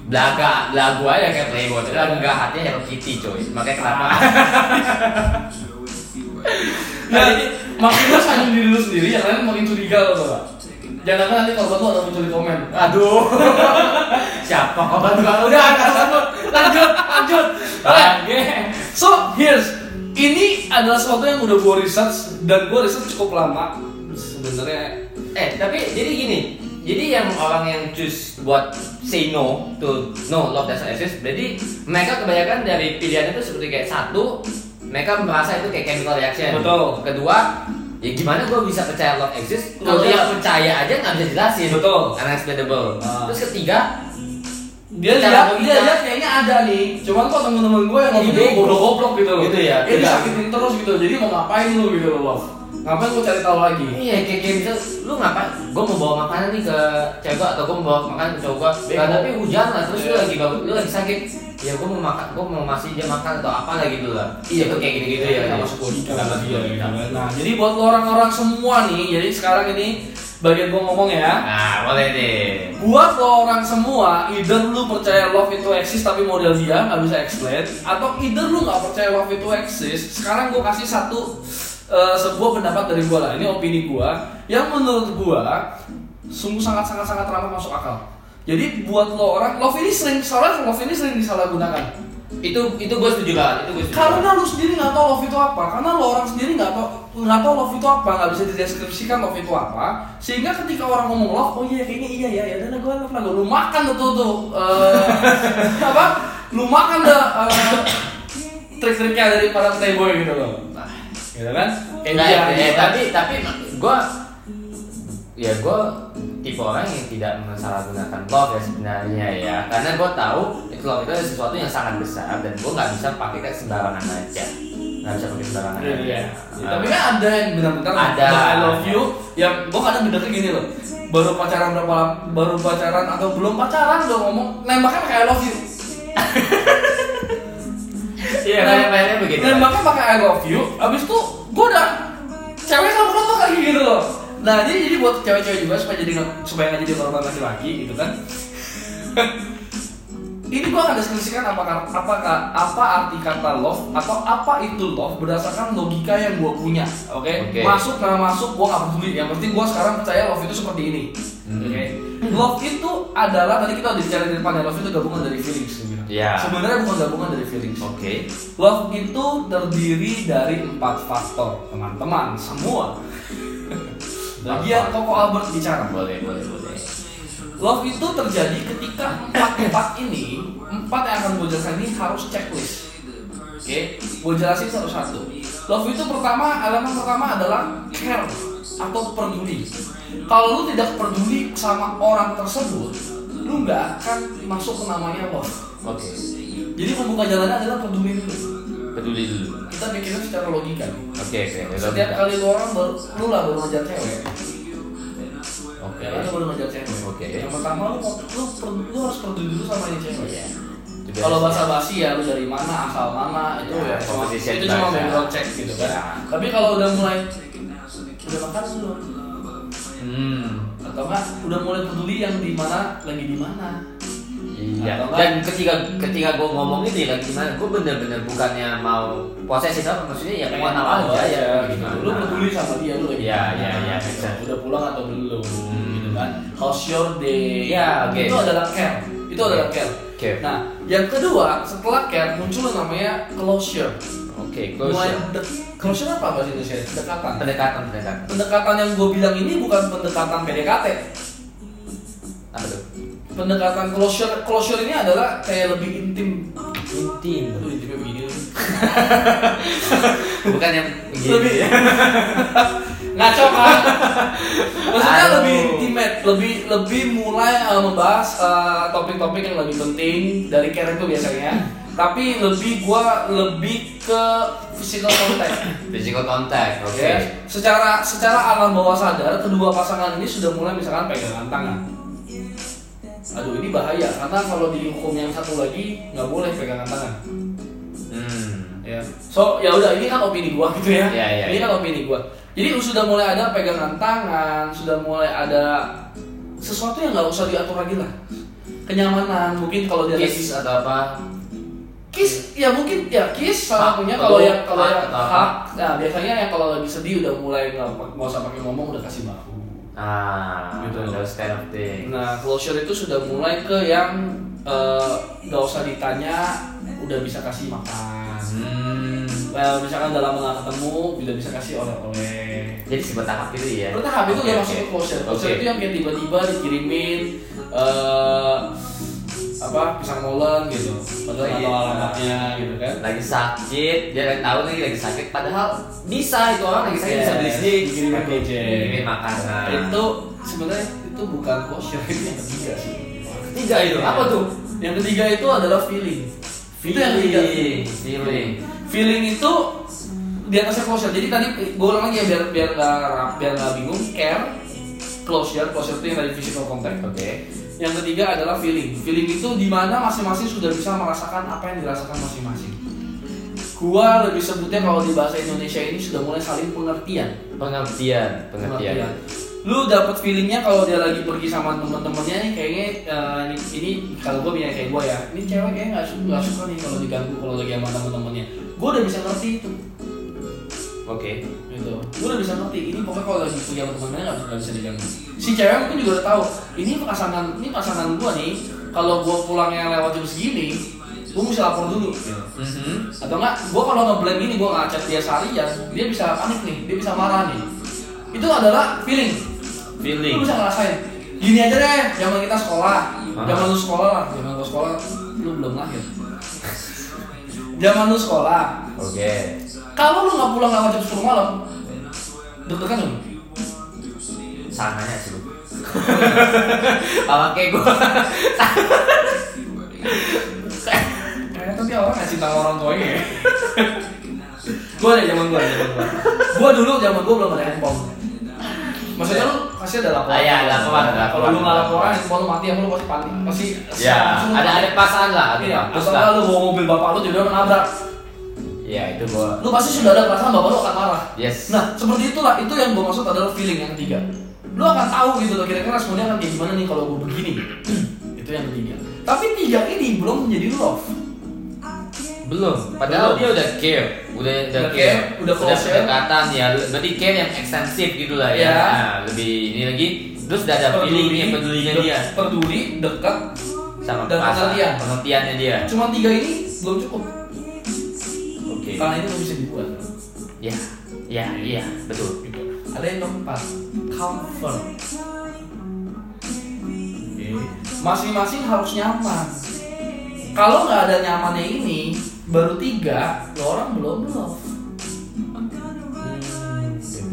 Belaga, belagu aja kayak playboy, tapi lagu enggak hatinya Hello Kitty coy. Makanya kenapa?
Nah, jadi makin lu sayang diri lu sendiri, yang lain makin curiga lo tuh. Jangan kan nanti kalau tuh ada muncul di komen. [LAUGHS]
Aduh. Siapa kabar juga udah
lanjut, lanjut, lanjut.
Ah.
Oke. So, here's ini adalah sesuatu yang udah gue research dan gue research cukup lama sebenarnya.
Eh, tapi jadi gini. Jadi yang orang yang choose buat say no to no love doesn't exist, jadi mereka kebanyakan dari pilihan itu seperti kayak satu, mereka merasa itu kayak chemical reaction.
Betul.
Kedua, ya gimana gue bisa percaya love exist kalau
Betul.
yang percaya aja nggak bisa jelasin.
Betul.
Unexplainable.
Ah.
Terus ketiga,
Dia
Cara
lihat,
logika.
dia lihat kayaknya ada nih. Cuman kok temen-temen gue yang
Ini
gitu
bego.
goblok-goblok gitu loh.
Gitu ya,
Ini
tidak.
sakitin terus gitu. Jadi mau ngapain lu gitu loh, Love? Ngapain gue cari tahu lagi?
iya kayak kayak misal, lu ngapain? Gue mau bawa makanan nih ke cewek gua, atau gue mau bawa makanan ke cowok gue.
Bego.
tapi hujan lah, terus lu
Iya.
lagi bagus, lu lagi sakit. Ya gue mau makan, gue mau masih dia makan atau apa lagi dulu lah. Iya, tuh kayak gini-gitu ya.
Nggak masuk logika
Nggak masuk
gitu ya.
logika.
Nah, jadi buat lo orang-orang semua nih, jadi sekarang ini bagian gua ngomong ya.
Nah, boleh deh.
Buat lo orang semua, either lu percaya love itu eksis tapi model dia nggak bisa explain, atau either lu nggak percaya love itu eksis. Sekarang gua kasih satu eh, sebuah pendapat dari gua lah. Ini opini gua yang menurut gua sungguh sangat sangat sangat ramah masuk akal. Jadi buat lo orang, love ini sering soalnya love ini sering disalahgunakan.
Itu itu gue setuju banget. Itu gue setuju. banget.
karena lu sendiri nggak tahu love itu apa karena lu orang sendiri nggak tahu nggak tahu love itu apa nggak bisa dideskripsikan love itu apa sehingga ketika orang ngomong love oh iya kayaknya iya ya ya udah gue love lah lu makan tuh tuh, tuh eh, [LAUGHS] apa lu makan dah eh, trik-triknya dari para playboy gitu loh
Nah,
gitu kan kayak
nah,
dia,
ya, ya,
gitu kan.
tapi tapi gue ya gue tipe orang yang tidak mensalahgunakan love ya sebenarnya ya karena gue tahu itu love itu adalah sesuatu yang sangat besar dan gue nggak bisa pakai kayak sembarangan aja nggak bisa pakai sembarangan
Iya,
aja
iya.
Nah,
Tapi kan ada yang benar-benar
Ada.
I love you yang gua kadang benernya gini loh. Baru pacaran berapa lama? Baru pacaran atau belum pacaran udah ngomong nembaknya pakai I love you.
iya
Nah,
main-mainnya begitu
Nembaknya pakai I love you. Abis itu gua udah cewek sama gua tuh kayak gitu loh. Nah, jadi jadi buat cewek-cewek juga supaya jadi nggak- supaya nggak jadi korban laki-laki gitu kan. [LAUGHS] Ini gua akan deskripsikan apa apa apa arti kata love atau apa itu love berdasarkan logika yang gua punya, oke?
Oke.
Masuk nggak masuk gua nggak peduli. Yang penting gua sekarang percaya love itu seperti ini,
Hmm.
oke? Love itu adalah tadi kita udah bicara di depan ya, love itu gabungan dari feelings, gua bilang.
Iya.
Sebenarnya bukan gabungan dari feelings.
oke
Love itu terdiri dari empat faktor, teman-teman semua. Bagian Koko Albert bicara.
boleh boleh boleh
Love itu terjadi ketika empat-empat ini, empat yang akan gue jelasin ini harus checklist. Oke, gue jelasin satu-satu. Love itu pertama, elemen pertama adalah care atau peduli. Kalau lu tidak peduli sama orang tersebut, lu nggak akan masuk ke namanya love.
oke
Jadi pembuka jalannya adalah peduli dulu.
peduli dulu
Kita pikirin secara logika.
oke oke oke
Setiap kali lu orang baru, lu lah baru ngejar cewek.
oke
Ya, lu baru ngejar cewek.
Oke.
Yang pertama lu lu, per- lu harus peduli dulu sama ini cewek.
Iya. Itu
Kalau
biasa.
bahasa basi ya lu dari mana, asal mana, itu
Ya,
ya, cuma
competition
itu cuma
bahasa.
background check gitu kan.
Ya.
Tapi kalau udah mulai udah makan belum?
hmm
Atau enggak udah mulai peduli yang di mana lagi di mana?
Iya.
Atau
Dan ketika ketika gue ngomong itu ya gimana? Gue bener-bener bukannya mau posesif apa maksudnya ya mau tahu aja ya.
gitu.
gimana.
Lu peduli sama dia lu lagi
Iya,
di
iya,
mana,
iya,
gitu.
bisa.
Udah pulang atau belum
Hmm.
gitu kan. How's your day?
Iya, oke.
Itu adalah care. Itu
Oke.
adalah care.
Oke.
Nah, yang kedua, setelah care muncul yang namanya closure.
Oke.
Mulai
Close.
de- closure apa bahasa Indonesia? Pendekatan.
Pendekatan pendekatan.
Pendekatan yang gue bilang ini bukan pendekatan PDKT.
Apa
[LAUGHS]
tuh?
Pendekatan closure closure ini adalah kayak lebih intim.
Intim.
Aduh, intimnya begini. loh.
Bukan yang begini.
Lebih [LAUGHS] ngaco kan? Maksudnya
Aduh.
lebih intimate, lebih lebih mulai eh, membahas eh, topik-topik yang lebih penting dari care itu biasanya. Tapi lebih gua lebih ke physical contact.
Physical contact. Oke.
Ya, secara secara alam bawah sadar kedua pasangan ini sudah mulai misalkan pegangan tangan. Aduh ini bahaya karena kalau di hukum yang satu lagi nggak boleh pegangan tangan.
Hmm.
Ya. So ya udah ini kan opini gua gitu ya.
Ya, ya,
ini
ya.
kan opini gua. Jadi sudah mulai ada pegangan tangan, sudah mulai ada sesuatu yang nggak usah diatur lagi lah. Kenyamanan mungkin kalau dia
Kiss atau apa?
kiss ya mungkin ya kiss salah
Hak,
punya kalau
peluk,
yang
hak
kalau yang
atau apa?
hak nah biasanya yang kalau lagi sedih udah mulai nggak nggak usah pakai ngomong udah kasih bahu
Ah.
Gitu.
Those kind of thing.
nah closure itu sudah mulai ke yang eh, nggak usah ditanya udah bisa kasih makan
Hmm.
well, misalkan dalam lama nggak ketemu udah bisa kasih oleh-oleh
Jadi sebertahap itu ya.
Bertahap itu udah
Oke,
masuk ke
oke.
closure. Closure
Oke.
itu yang kayak tiba-tiba dikirimin eh apa pisang molen gitu. Padahal nggak tahu
Iya.
alamatnya gitu kan.
lagi sakit dia lagi tahu nih lagi sakit padahal bisa itu orang lagi sakit bisa beli sendiri
Dikirim ke Gojek.
Dikirimin makanan
Nah, Itu sebenarnya itu bukan kosher itu yang ketiga sih.
tiga itu apa tuh
Yang ketiga itu adalah feeling. Itu yang ketiga.
feeling feeling
Feeling itu di atasnya closure. Jadi tadi gue ulang lagi ya biar biar nggak ra- biar nggak bingung. Care, closure, closure itu yang dari physical contact.
oke
Yang ketiga adalah feeling. Feeling itu dimana masing-masing sudah bisa merasakan apa yang dirasakan masing-masing. Gua lebih sebutnya kalau di bahasa Indonesia ini sudah mulai saling pengertian.
pengertian pengertian
Iya. Lu dapat feelingnya kalau dia lagi pergi sama teman-temannya nih kayaknya eh, ini, ini kalau gue bilang kayak gue ya, ini cewek kayaknya nggak suka, nggak suka nih kalau diganggu kalau lagi sama teman-temannya. Gue udah bisa ngerti itu,
oke
gitu. Gue udah bisa ngerti ini pokoknya kalau lagi pergi sama teman-temannya nggak nggak bisa diganggu. Si cewek mungkin juga udah tahu, ini pasangan ini pasangan gue nih, kalau gue pulangnya lewat jam segini, gue mesti lapor dulu.
Mhm.
Atau enggak, gue kalau ngeblame ini gue ngajak dia seharian, dia bisa panik nih, dia bisa marah nih. Itu adalah feeling
feeling
lu bisa ngerasain gini aja deh zaman kita sekolah
Ah.
zaman lu sekolah lah zaman lu sekolah lu belum lahir zaman lu sekolah
oke
kalau lu nggak pulang nggak jam 10 malam deg-degan lu [LAUGHS]
sananya sih lu sama kayak gua
Kayaknya tapi orang nggak cinta sama orang tuanya ya. [LAUGHS] gue ada zaman gue, zaman gue. Gue dulu zaman gue belum ada handphone. Maksudnya lu pasti ada laporan.
Ah, iya, laporan,
Kalau
laporan.
lu nggak laporan, handphone lu mati, ya lu pasti panik. Pasti.
Ya, ada ada perasaan lah, ada
Iya,
terus
atau
lah.
nggak lu bawa mobil bapak lu jadi orang nabrak.
Ya itu gua.
Lu pasti sudah ada perasaan bapak lu akan marah.
Yes.
Nah, seperti itulah itu yang gue maksud adalah feeling yang ketiga. Lu akan tahu gitu loh kira-kira responnya akan kayak gimana nih kalau gue begini. [CLEARS THROAT] itu yang ketiga. Tapi tiga ini belum menjadi love.
belum. Padahal
Belum.
dia udah care, udah udah
Udah
care,
care, udah closer.
pendekatan ya. Berarti care yang ekstensif gitu lah ya.
Ya.
Nah, lebih ini lagi. Terus udah ada feelingnya, pedulinya
de-
dia
Peduli, dekat.
sama
dan
perasaan,
pengertian.
pengertiannya dia.
Cuma tiga ini belum cukup.
Oke.
Karena itu belum bisa dibuat.
Ya, ya, iya, betul.
Gitu. Ada yang keempat, comfort. Masing-masing harus nyaman. Kalau nggak ada nyamannya ini, baru tiga, lo orang belum love.
Hmm, gitu.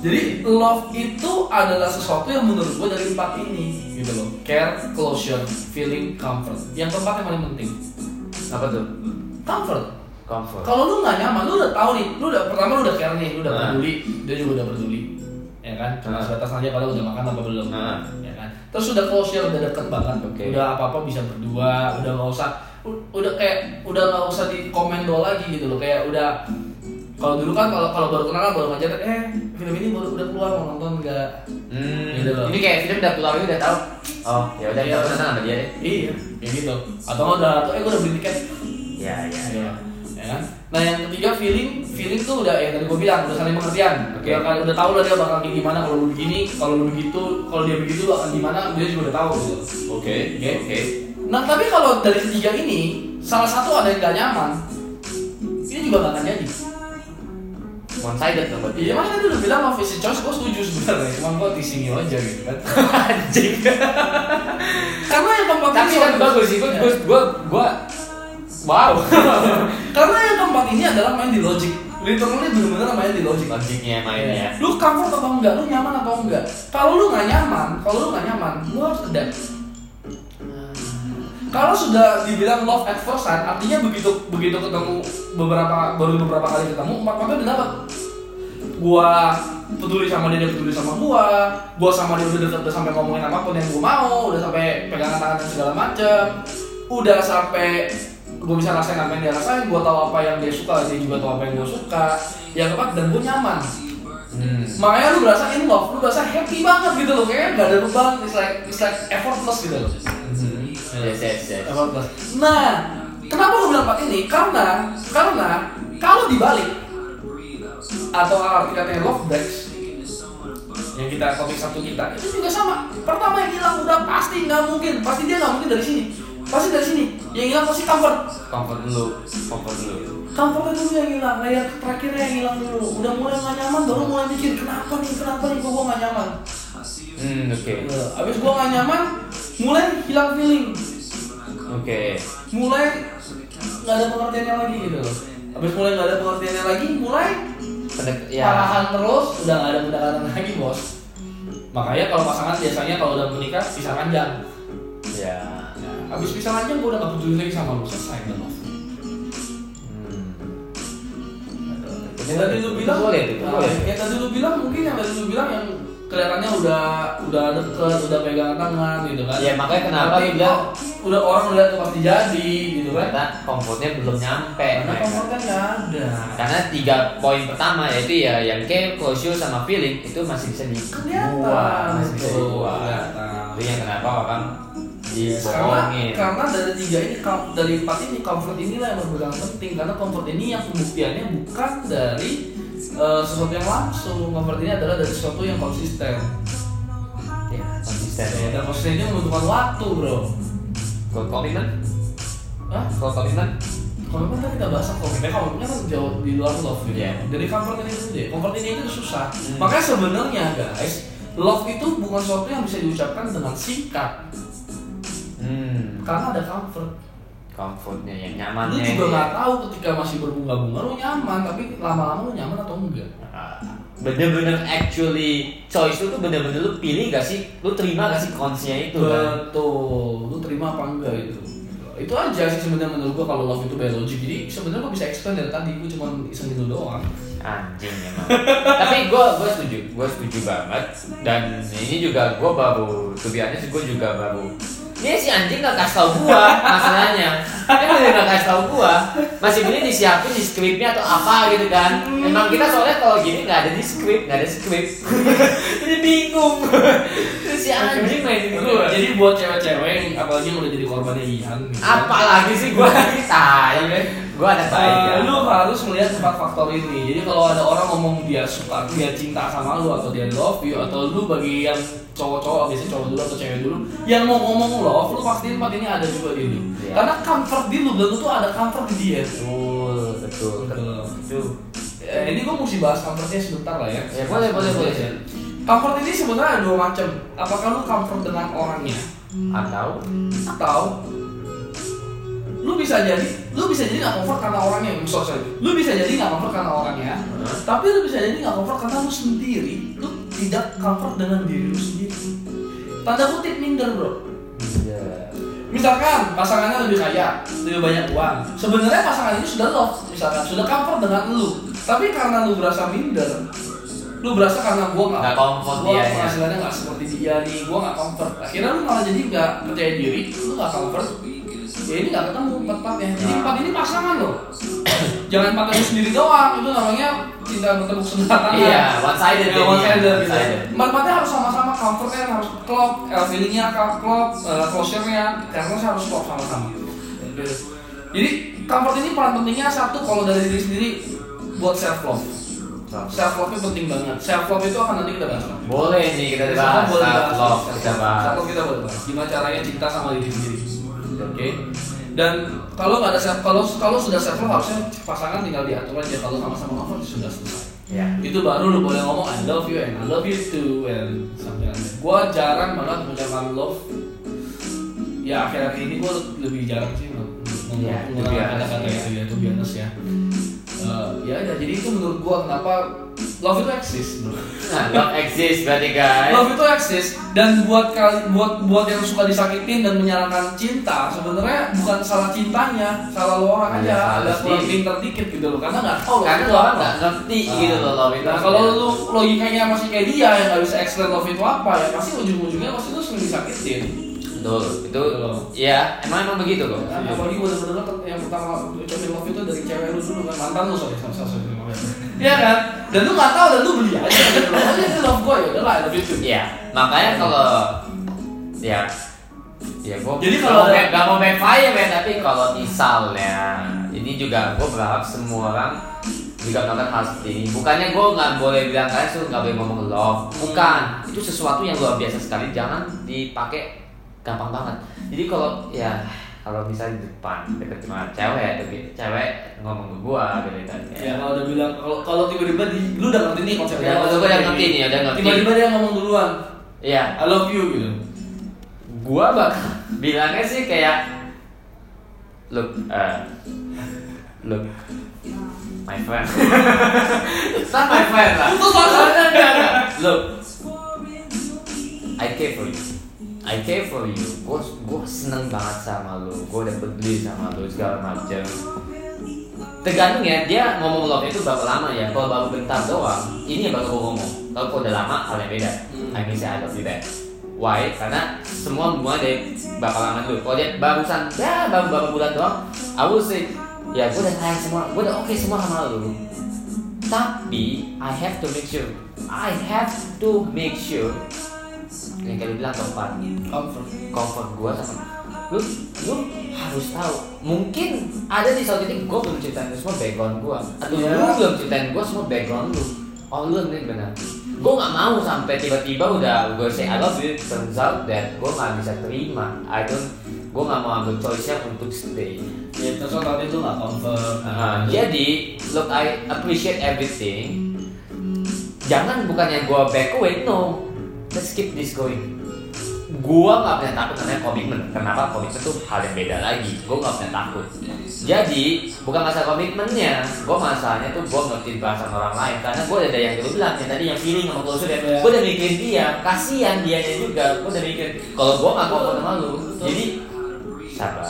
Jadi love itu adalah sesuatu yang menurut gue dari empat ini gitu loh. Care, closure, feeling, comfort. Yang keempat yang paling penting,
Apa tuh?
comfort.
Comfort.
Kalau lu nggak nyaman, lu udah tahu nih, lu udah pertama lu udah care nih, lu udah
Nah.
peduli, dia juga udah peduli, ya kan? Cuma
Nah.
sebatas nanya kalau udah makan apa belum,
Nah.
ya kan? Terus udah closure, udah deket banget,
Oke.
udah apa apa bisa berdua, udah nggak usah, u- udah kayak udah nggak usah di komendo lagi gitu loh, kayak udah kalau dulu kan kalau kalau baru kenalan baru ngajar, eh film ini baru udah keluar mau nonton nggak?
Hmm,
Gitu loh.
ini kayak film udah keluar ini udah tahu. Oh, ya udah
Iya.
kita penasaran sama dia deh.
Iya, kayak gitu. Atau nggak udah, atau eh gue udah beli tiket,
Ya, ya.
ya kan? Nah yang ketiga feeling, feeling tuh udah ya tadi gue bilang udah saling pengertian.
Oke.
Udah, udah tahu lah dia bakal kayak gimana kalau lu begini, kalau lu begitu, kalau dia begitu lu akan gimana, dia juga udah tahu. Gitu.
Oke,
oke,
oke.
Nah tapi kalau dari ketiga ini salah satu ada yang gak nyaman, ini juga gak akan jadi.
One sided dong berarti. ya.
Iya makanya tadi udah bilang sama Vision Choice gue setuju sebenarnya, cuman gue teasing aja gitu kan.
[LAUGHS] Anjing.
Karena yang keempat
Tapi
ini-
kan bagus sih, gua gua gua, gua wow.
[LAUGHS] Karena yang keempat ini adalah main di logic. Literally bener-bener main di logic.
Anjingnya
Iya. Lu comfort atau enggak? Lu nyaman atau enggak? Kalau lu nggak nyaman, kalau lu nggak nyaman, lu harus adapt. Kalau sudah dibilang love at first sight, artinya begitu begitu ketemu beberapa baru beberapa kali ketemu, empat-empatnya udah dapet. Gua peduli sama dia, dia peduli sama gua. Gua sama dia udah deket, udah sampai ngomongin apapun yang gua mau, udah sampai pegangan tangan dan segala macem. Udah sampai gua bisa rasain apa yang dia rasain, gua tahu apa yang dia suka, dia juga tahu apa yang gua suka. Yang keempat dan gua nyaman
Hmm.
makanya lu berasa in love, lu berasa happy banget gitu loh, kayaknya gak ada beban, it's like, it's like effortless gitu loh
Hmm. Yes, yes, yes.
effortless nah, kenapa gue bilang empat ini? karena, karena kalau dibalik atau arti katanya love breaks yang kita topik satu kita itu juga sama pertama yang hilang udah pasti nggak mungkin pasti dia nggak mungkin dari sini pasti dari sini yang hilang pasti comfort
Comfort dulu, comfort dulu.
Kampungnya dulu yang hilang, layer terakhirnya yang hilang dulu. Udah mulai nggak nyaman, baru mulai mikir kenapa nih, kenapa nih gua gua nggak nyaman.
Hmm, oke.
Nah, Abis gua nggak nyaman, mulai hilang feeling,
Oke.
mulai nggak ada pengertiannya lagi gitu loh. Abis mulai nggak ada pengertiannya lagi, mulai
Pendek ya.
parahan terus, udah nggak ada pendekatan lagi bos. Makanya kalau pasangan biasanya kalau udah menikah pisah ranjang.
Ya.
Abis pisah ranjang gua udah nggak peduli lagi sama lu, selesai udah love.
Hmm.
Yang tadi lu bilang nah,
boleh itu, boleh.
Yang tadi lu bilang mungkin yang tadi lu bilang yang kelihatannya udah udah deket, udah pegangan tangan gitu kan.
Ya makanya kenapa
Tapi
dia bilang
kok udah orang udah tuh pasti jadi gitu kan.
ternyata komfortnya belum nyampe.
Karena komfort kan nggak ada.
Karena tiga poin pertama yaitu ya yang care, closure sama feeling itu masih bisa dibuat,
Kelihatan
masih bisa
gitu.
dibuat. Itu yang kenapa kan? orang
Karena,
dibohongin.
karena dari tiga ini kom- dari empat ini comfort inilah yang berpegang penting karena comfort ini yang pembuktiannya bukan dari eh, sesuatu yang langsung comfort ini adalah dari sesuatu yang konsisten
Ya, konsisten
Ya,
ya.
dan konsisten ini membutuhkan waktu bro
Kalau komitmen,
Hah?
kalau komitmen,
Komitmen kan kita bahas kan komitmen, komitmen kan jauh di luar love gitu.
Iya.
Dari comfort ini dulu deh, comfort ini itu susah.
Hmm.
Makanya sebenarnya guys, love itu bukan sesuatu yang bisa diucapkan dengan singkat,
hmm,
karena ada comfort.
comfortnya yang ya.
Lu
nyamannya.
juga nggak tahu ketika masih berbunga-bunga lu nyaman, tapi lama-lama lu nyaman atau enggak.
Ah, bener-bener actually choice lu tuh bener-bener lu pilih gak sih, lu terima gak sih konsnya itu kan?
Betul, lu terima apa enggak itu? itu aja sih sebenarnya menurut gua kalau love itu biologi jadi sebenarnya gua bisa explain dari tadi gua cuma iseng gitu doang
anjing emang tapi gue gue setuju gue setuju banget dan ini juga gue baru to be honest gue juga baru ini si anjing gak kasih tau gue masalahnya kan dia gak kasih tau gue masih beli disiapin di skripnya atau apa gitu kan emang kita soalnya kalau gini gak ada di skrip gak ada skrip [LAUGHS] jadi bingung Terus si anjing main gue jadi
jadi buat cewek-cewek yang apalagi yang udah jadi korbannya Ihan gitu.
apalagi sih gue kita gue ada baik ya
Eh, lu harus melihat empat faktor ini. Jadi kalau ada orang ngomong dia suka, dia cinta sama lu atau dia love you atau lu bagi yang cowok-cowok biasanya cowok dulu atau cewek dulu yang mau ngomong love, lu pastiin empat ini ada juga di lu.
Iya.
Karena comfort di lu dan lu tuh ada comfort di dia.
betul betul
Betul.
betul
Eh, ini gua mesti bahas comfortnya sebentar lah ya.
Ya, boleh, boleh, boleh.
Comfort ini sebenarnya ada dua macam. Apakah lu comfort dengan orangnya
atau
atau lu bisa jadi lu bisa jadi nggak comfort karena orangnya so, sorry. lu bisa jadi nggak comfort karena orangnya
Hmm.
tapi lu bisa jadi nggak comfort karena lu sendiri lu tidak comfort dengan diri lu sendiri tanda kutip minder bro
ya
misalkan pasangannya lebih kaya lebih banyak uang sebenarnya pasangan ini sudah love misalkan sudah comfort dengan lu tapi karena lu berasa minder lu berasa karena gua nggak
Nggak comfort
gua
dia, ya.
penghasilannya nggak seperti dia nih gua nggak comfort akhirnya lu malah jadi nggak percaya diri lu nggak comfort ya ini nggak ketemu empat empatnya jadi empat ini pasangan loh [COUGHS] jangan pakai lu sendiri doang itu namanya cinta bertepuk sebelah tangan
Iya, one sided
Ya,
jadinya.
one sided gitu.
One-sided.
Manfaatnya harus sama-sama comfortnya harus klop, eh, feelingnya ka- klop, eh, closure-nya, karena harus klop sama-sama. Jadi comfort ini peran pentingnya satu kalau dari diri sendiri buat self love. Self love itu penting banget. Self love itu akan nanti kita bahas. Bang.
Boleh nih kita bahas
Self-love boleh
self love
bahas.
kita bahas.
Self-love kita boleh bahas. Gimana caranya cinta sama diri sendiri. Oke. Dan kalau nggak ada self kalau kalau sudah self love harusnya pasangan tinggal diatur aja kalau sama-sama comfort sudah selesai
Ya.
itu baru lu boleh ngomong I love you and I love you too and something like that. Gua jarang banget mengucapkan love. Ya akhir-akhir ini gua lebih jarang sih meng- meng-
Ya, itu biasa,
menggunakan kata-kata
ya.
itu ya, itu biasa ya. Eh, ya, ya, jadi itu menurut gua kenapa love itu eksis. bro.
Nah, love exists berarti kan. guys.
Love itu eksis dan buat kal- buat buat yang suka disakitin dan menyarankan cinta sebenarnya bukan salah cintanya, salah lo
Iya,
orang aja,
salah
ada kurang
sendiri.
pinter dikit gitu loh karena nggak tahu
Karena
itu
lo Kan orang
apa.
nggak ngerti gitu loh love itu.
Nah kalau lu logikanya masih kayak dia yang nggak bisa explain love itu apa ya pasti ujung-ujungnya pasti lu sering disakitin.
betul itu
Betul.
ya emang emang begitu kok.
Kan apalagi bener-bener ter- yang pertama ucapin love itu dari cewek lu dulu kan mantan lu sorry sama sama sama. Iya kan? Dan lu nggak tahu dan lu beli aja. Lu aja itu love gue ya udah lah love itu.
Ya makanya kalau ya ya gue
Jadi kalau ada-
nggak mau backfire men tapi kalau misalnya ini juga gue berharap semua orang juga melakukan hal seperti ini bukannya gue nggak boleh bilang kalian tuh nggak boleh ngomong love bukan itu sesuatu yang luar biasa sekali jangan dipakai gampang banget jadi kalau ya kalau misalnya di depan deket sama cewek tapi cewek ngomong ke gue gitu kan
Ya kalau udah bilang kalau kalau tiba-tiba di lu udah ngerti nih konsepnya.
Ya,
love
udah- udah
kayak
ngerti
gini.
nih, udah ngerti.
Tiba-tiba dia ngomong duluan,
Iya.
I love you gitu.
gua bakal bilangnya sih kayak look uh, look my friend [LAUGHS] not my friend lah
Itu soalnya-
Enggak, enggak, enggak. look I care for you I care for you gua gua seneng banget sama lu gua udah peduli sama lu segala macam tergantung ya dia ngomong love itu berapa lama ya kalau baru bentar doang ini yang bakal gua ngomong kalau kalau udah lama hal yang beda
Hmm.
I mean saya love you back why karena semua mulai dari bakal lama dulu kalau dia barusan ya baru baru bulan doang aku sih ya gua udah sayang semua gua udah oke semua sama lu tapi I have to make sure I have to make sure yang kayak lu bilang tempat
Comfort.
comfort gue sama lu lu harus tahu mungkin ada di suatu titik gue belum ceritain lu semua background gue atau
Iya.
lu belum ceritain gue semua background lu oh lu ini benar gue nggak mau sampai tiba-tiba udah gue say I love you turns out that gue nggak bisa terima I don't gue nggak mau ambil choice nya untuk stay
Ya terus tadi itu nggak comfort.
Nah, jadi look I appreciate everything jangan bukannya gue back away no let's keep this going gue nggak punya takut namanya komitmen kenapa komitmen tuh hal yang beda lagi gue nggak punya takut jadi bukan masalah komitmennya gue masalahnya tuh gue ngerti perasaan orang lain karena gue ada yang dulu bilang yang tadi yang feeling sama closure ya gue udah mikirin dia kasihan dia juga gue udah mikirin kalau gue nggak gue bakal malu jadi sabar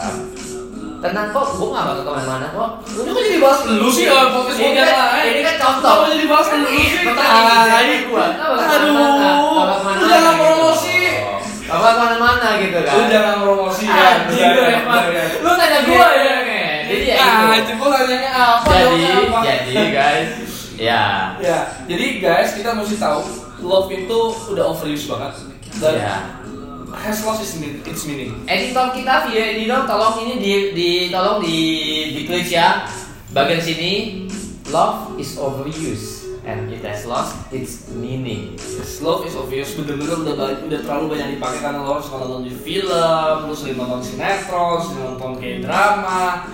tenang kok gue nggak bakal kemana-mana kok
Lu kok jadi bahas lu sih ya podcast
Ini
podcast
kan-
lain?
ini kan contoh.
Kenapa jadi bahas
Iya,
Ah, lu sih?
Pertanyaan
Tai
Ah, gua.
Aduh, lu jangan promosi.
Gak bakal kemana-mana gitu kan
Lu jangan promosi ya.
Anjing, lu emang. Lu tanya gua ya Jadi ya
Ah,
itu.
jempol nanyanya apa?
Jadi, iya.
jawabnya apa?
jadi guys Ya
Ya, jadi guys kita mesti tahu love itu udah overused banget dan
Ya
has lost its meaning. Its meaning.
Editor kita video editor tolong ini di, di tolong di ditulis ya bagian sini love is overused and it has lost its meaning.
Yes, love is obvious bener-bener udah ba- udah terlalu banyak dipakai karena lo harus nonton di film, lo sering nonton sinetron, sering nonton kayak drama.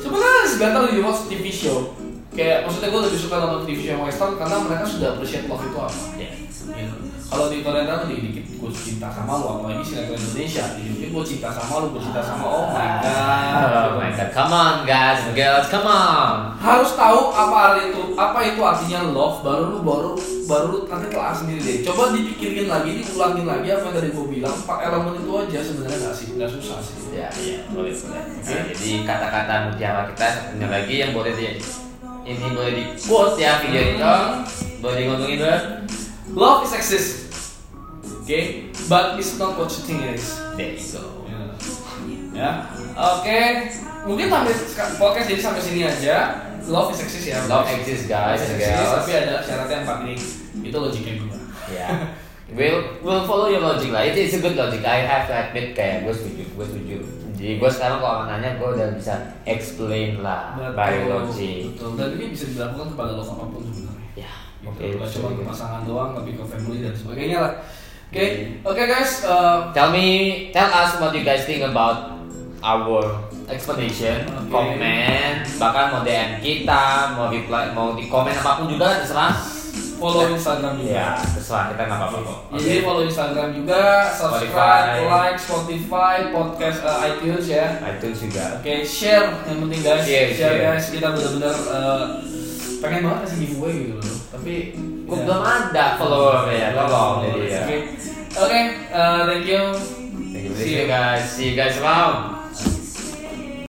Sebenarnya sebentar di watch TV show. Kayak maksudnya gue lebih suka nonton TV show yang western karena mereka sudah appreciate love itu apa.
Ya.
Gitu. Kalau di Korea drama dikit-dikit gue cinta sama lo, apalagi sinetron Indonesia dikit-dikit gue cinta sama lo, gue cinta sama oh my god.
Oh my god, come on guys and girls, come on.
harus tahu apa arti itu apa itu artinya love baru lu baru baru lu nanti telah sendiri deh coba dipikirin lagi diulangin lagi apa yang tadi gue bilang pak elemen itu aja sebenarnya nggak sih nggak susah sih
Ya, ya, boleh, boleh. Nah, jadi kata-kata mutiara kita satunya lagi yang boleh di ini boleh di quote ya video editor. Boleh di ngomongin ber.
love is exist oke but it's not what you think it is
There you go.
ya oke mungkin sampai sek- podcast jadi sampai sini aja love is exist ya
Love exists guys
Love is
and
exist,
girls.
tapi ada syaratnya empat ini itu logiknya gue
Yeah. Ya. We'll, we'll follow your logic lah. It is a good logic. I have to admit kayak gue setuju, gue setuju. Jadi gue sekarang kalau orang nanya gue udah bisa explain lah by logic.
Betul. Dan ini bisa dilakukan kepada lo apapun sebenarnya.
Ya.
Oke,
Oke.
cuma ke
so-
pasangan doang, tapi ke family dan sebagainya lah. Oke,
Hmm.
oke guys, uh,
Tell me, tell us what you guys think about our explanation,
Oke.
comment, bahkan mau DM kita, mau reply, mau di komen apapun juga terserah.
follow Instagram juga.
Ya, terserah kita nggak apa-apa kok.
Jadi
Oke.
follow Instagram juga, subscribe,
Spotify.
like, Spotify, podcast uh, iTunes ya.
iTunes juga.
Oke, share yang penting guys,
Share, share.
guys. Kita benar-benar uh, pengen banget kasih giveaway gitu loh. Tapi
Gue
ya.
belum ada follower Iya. ya, tolong jadi ya.
Oke, Oke, uh, thank you.
Thank you for listening, guys. See you guys around.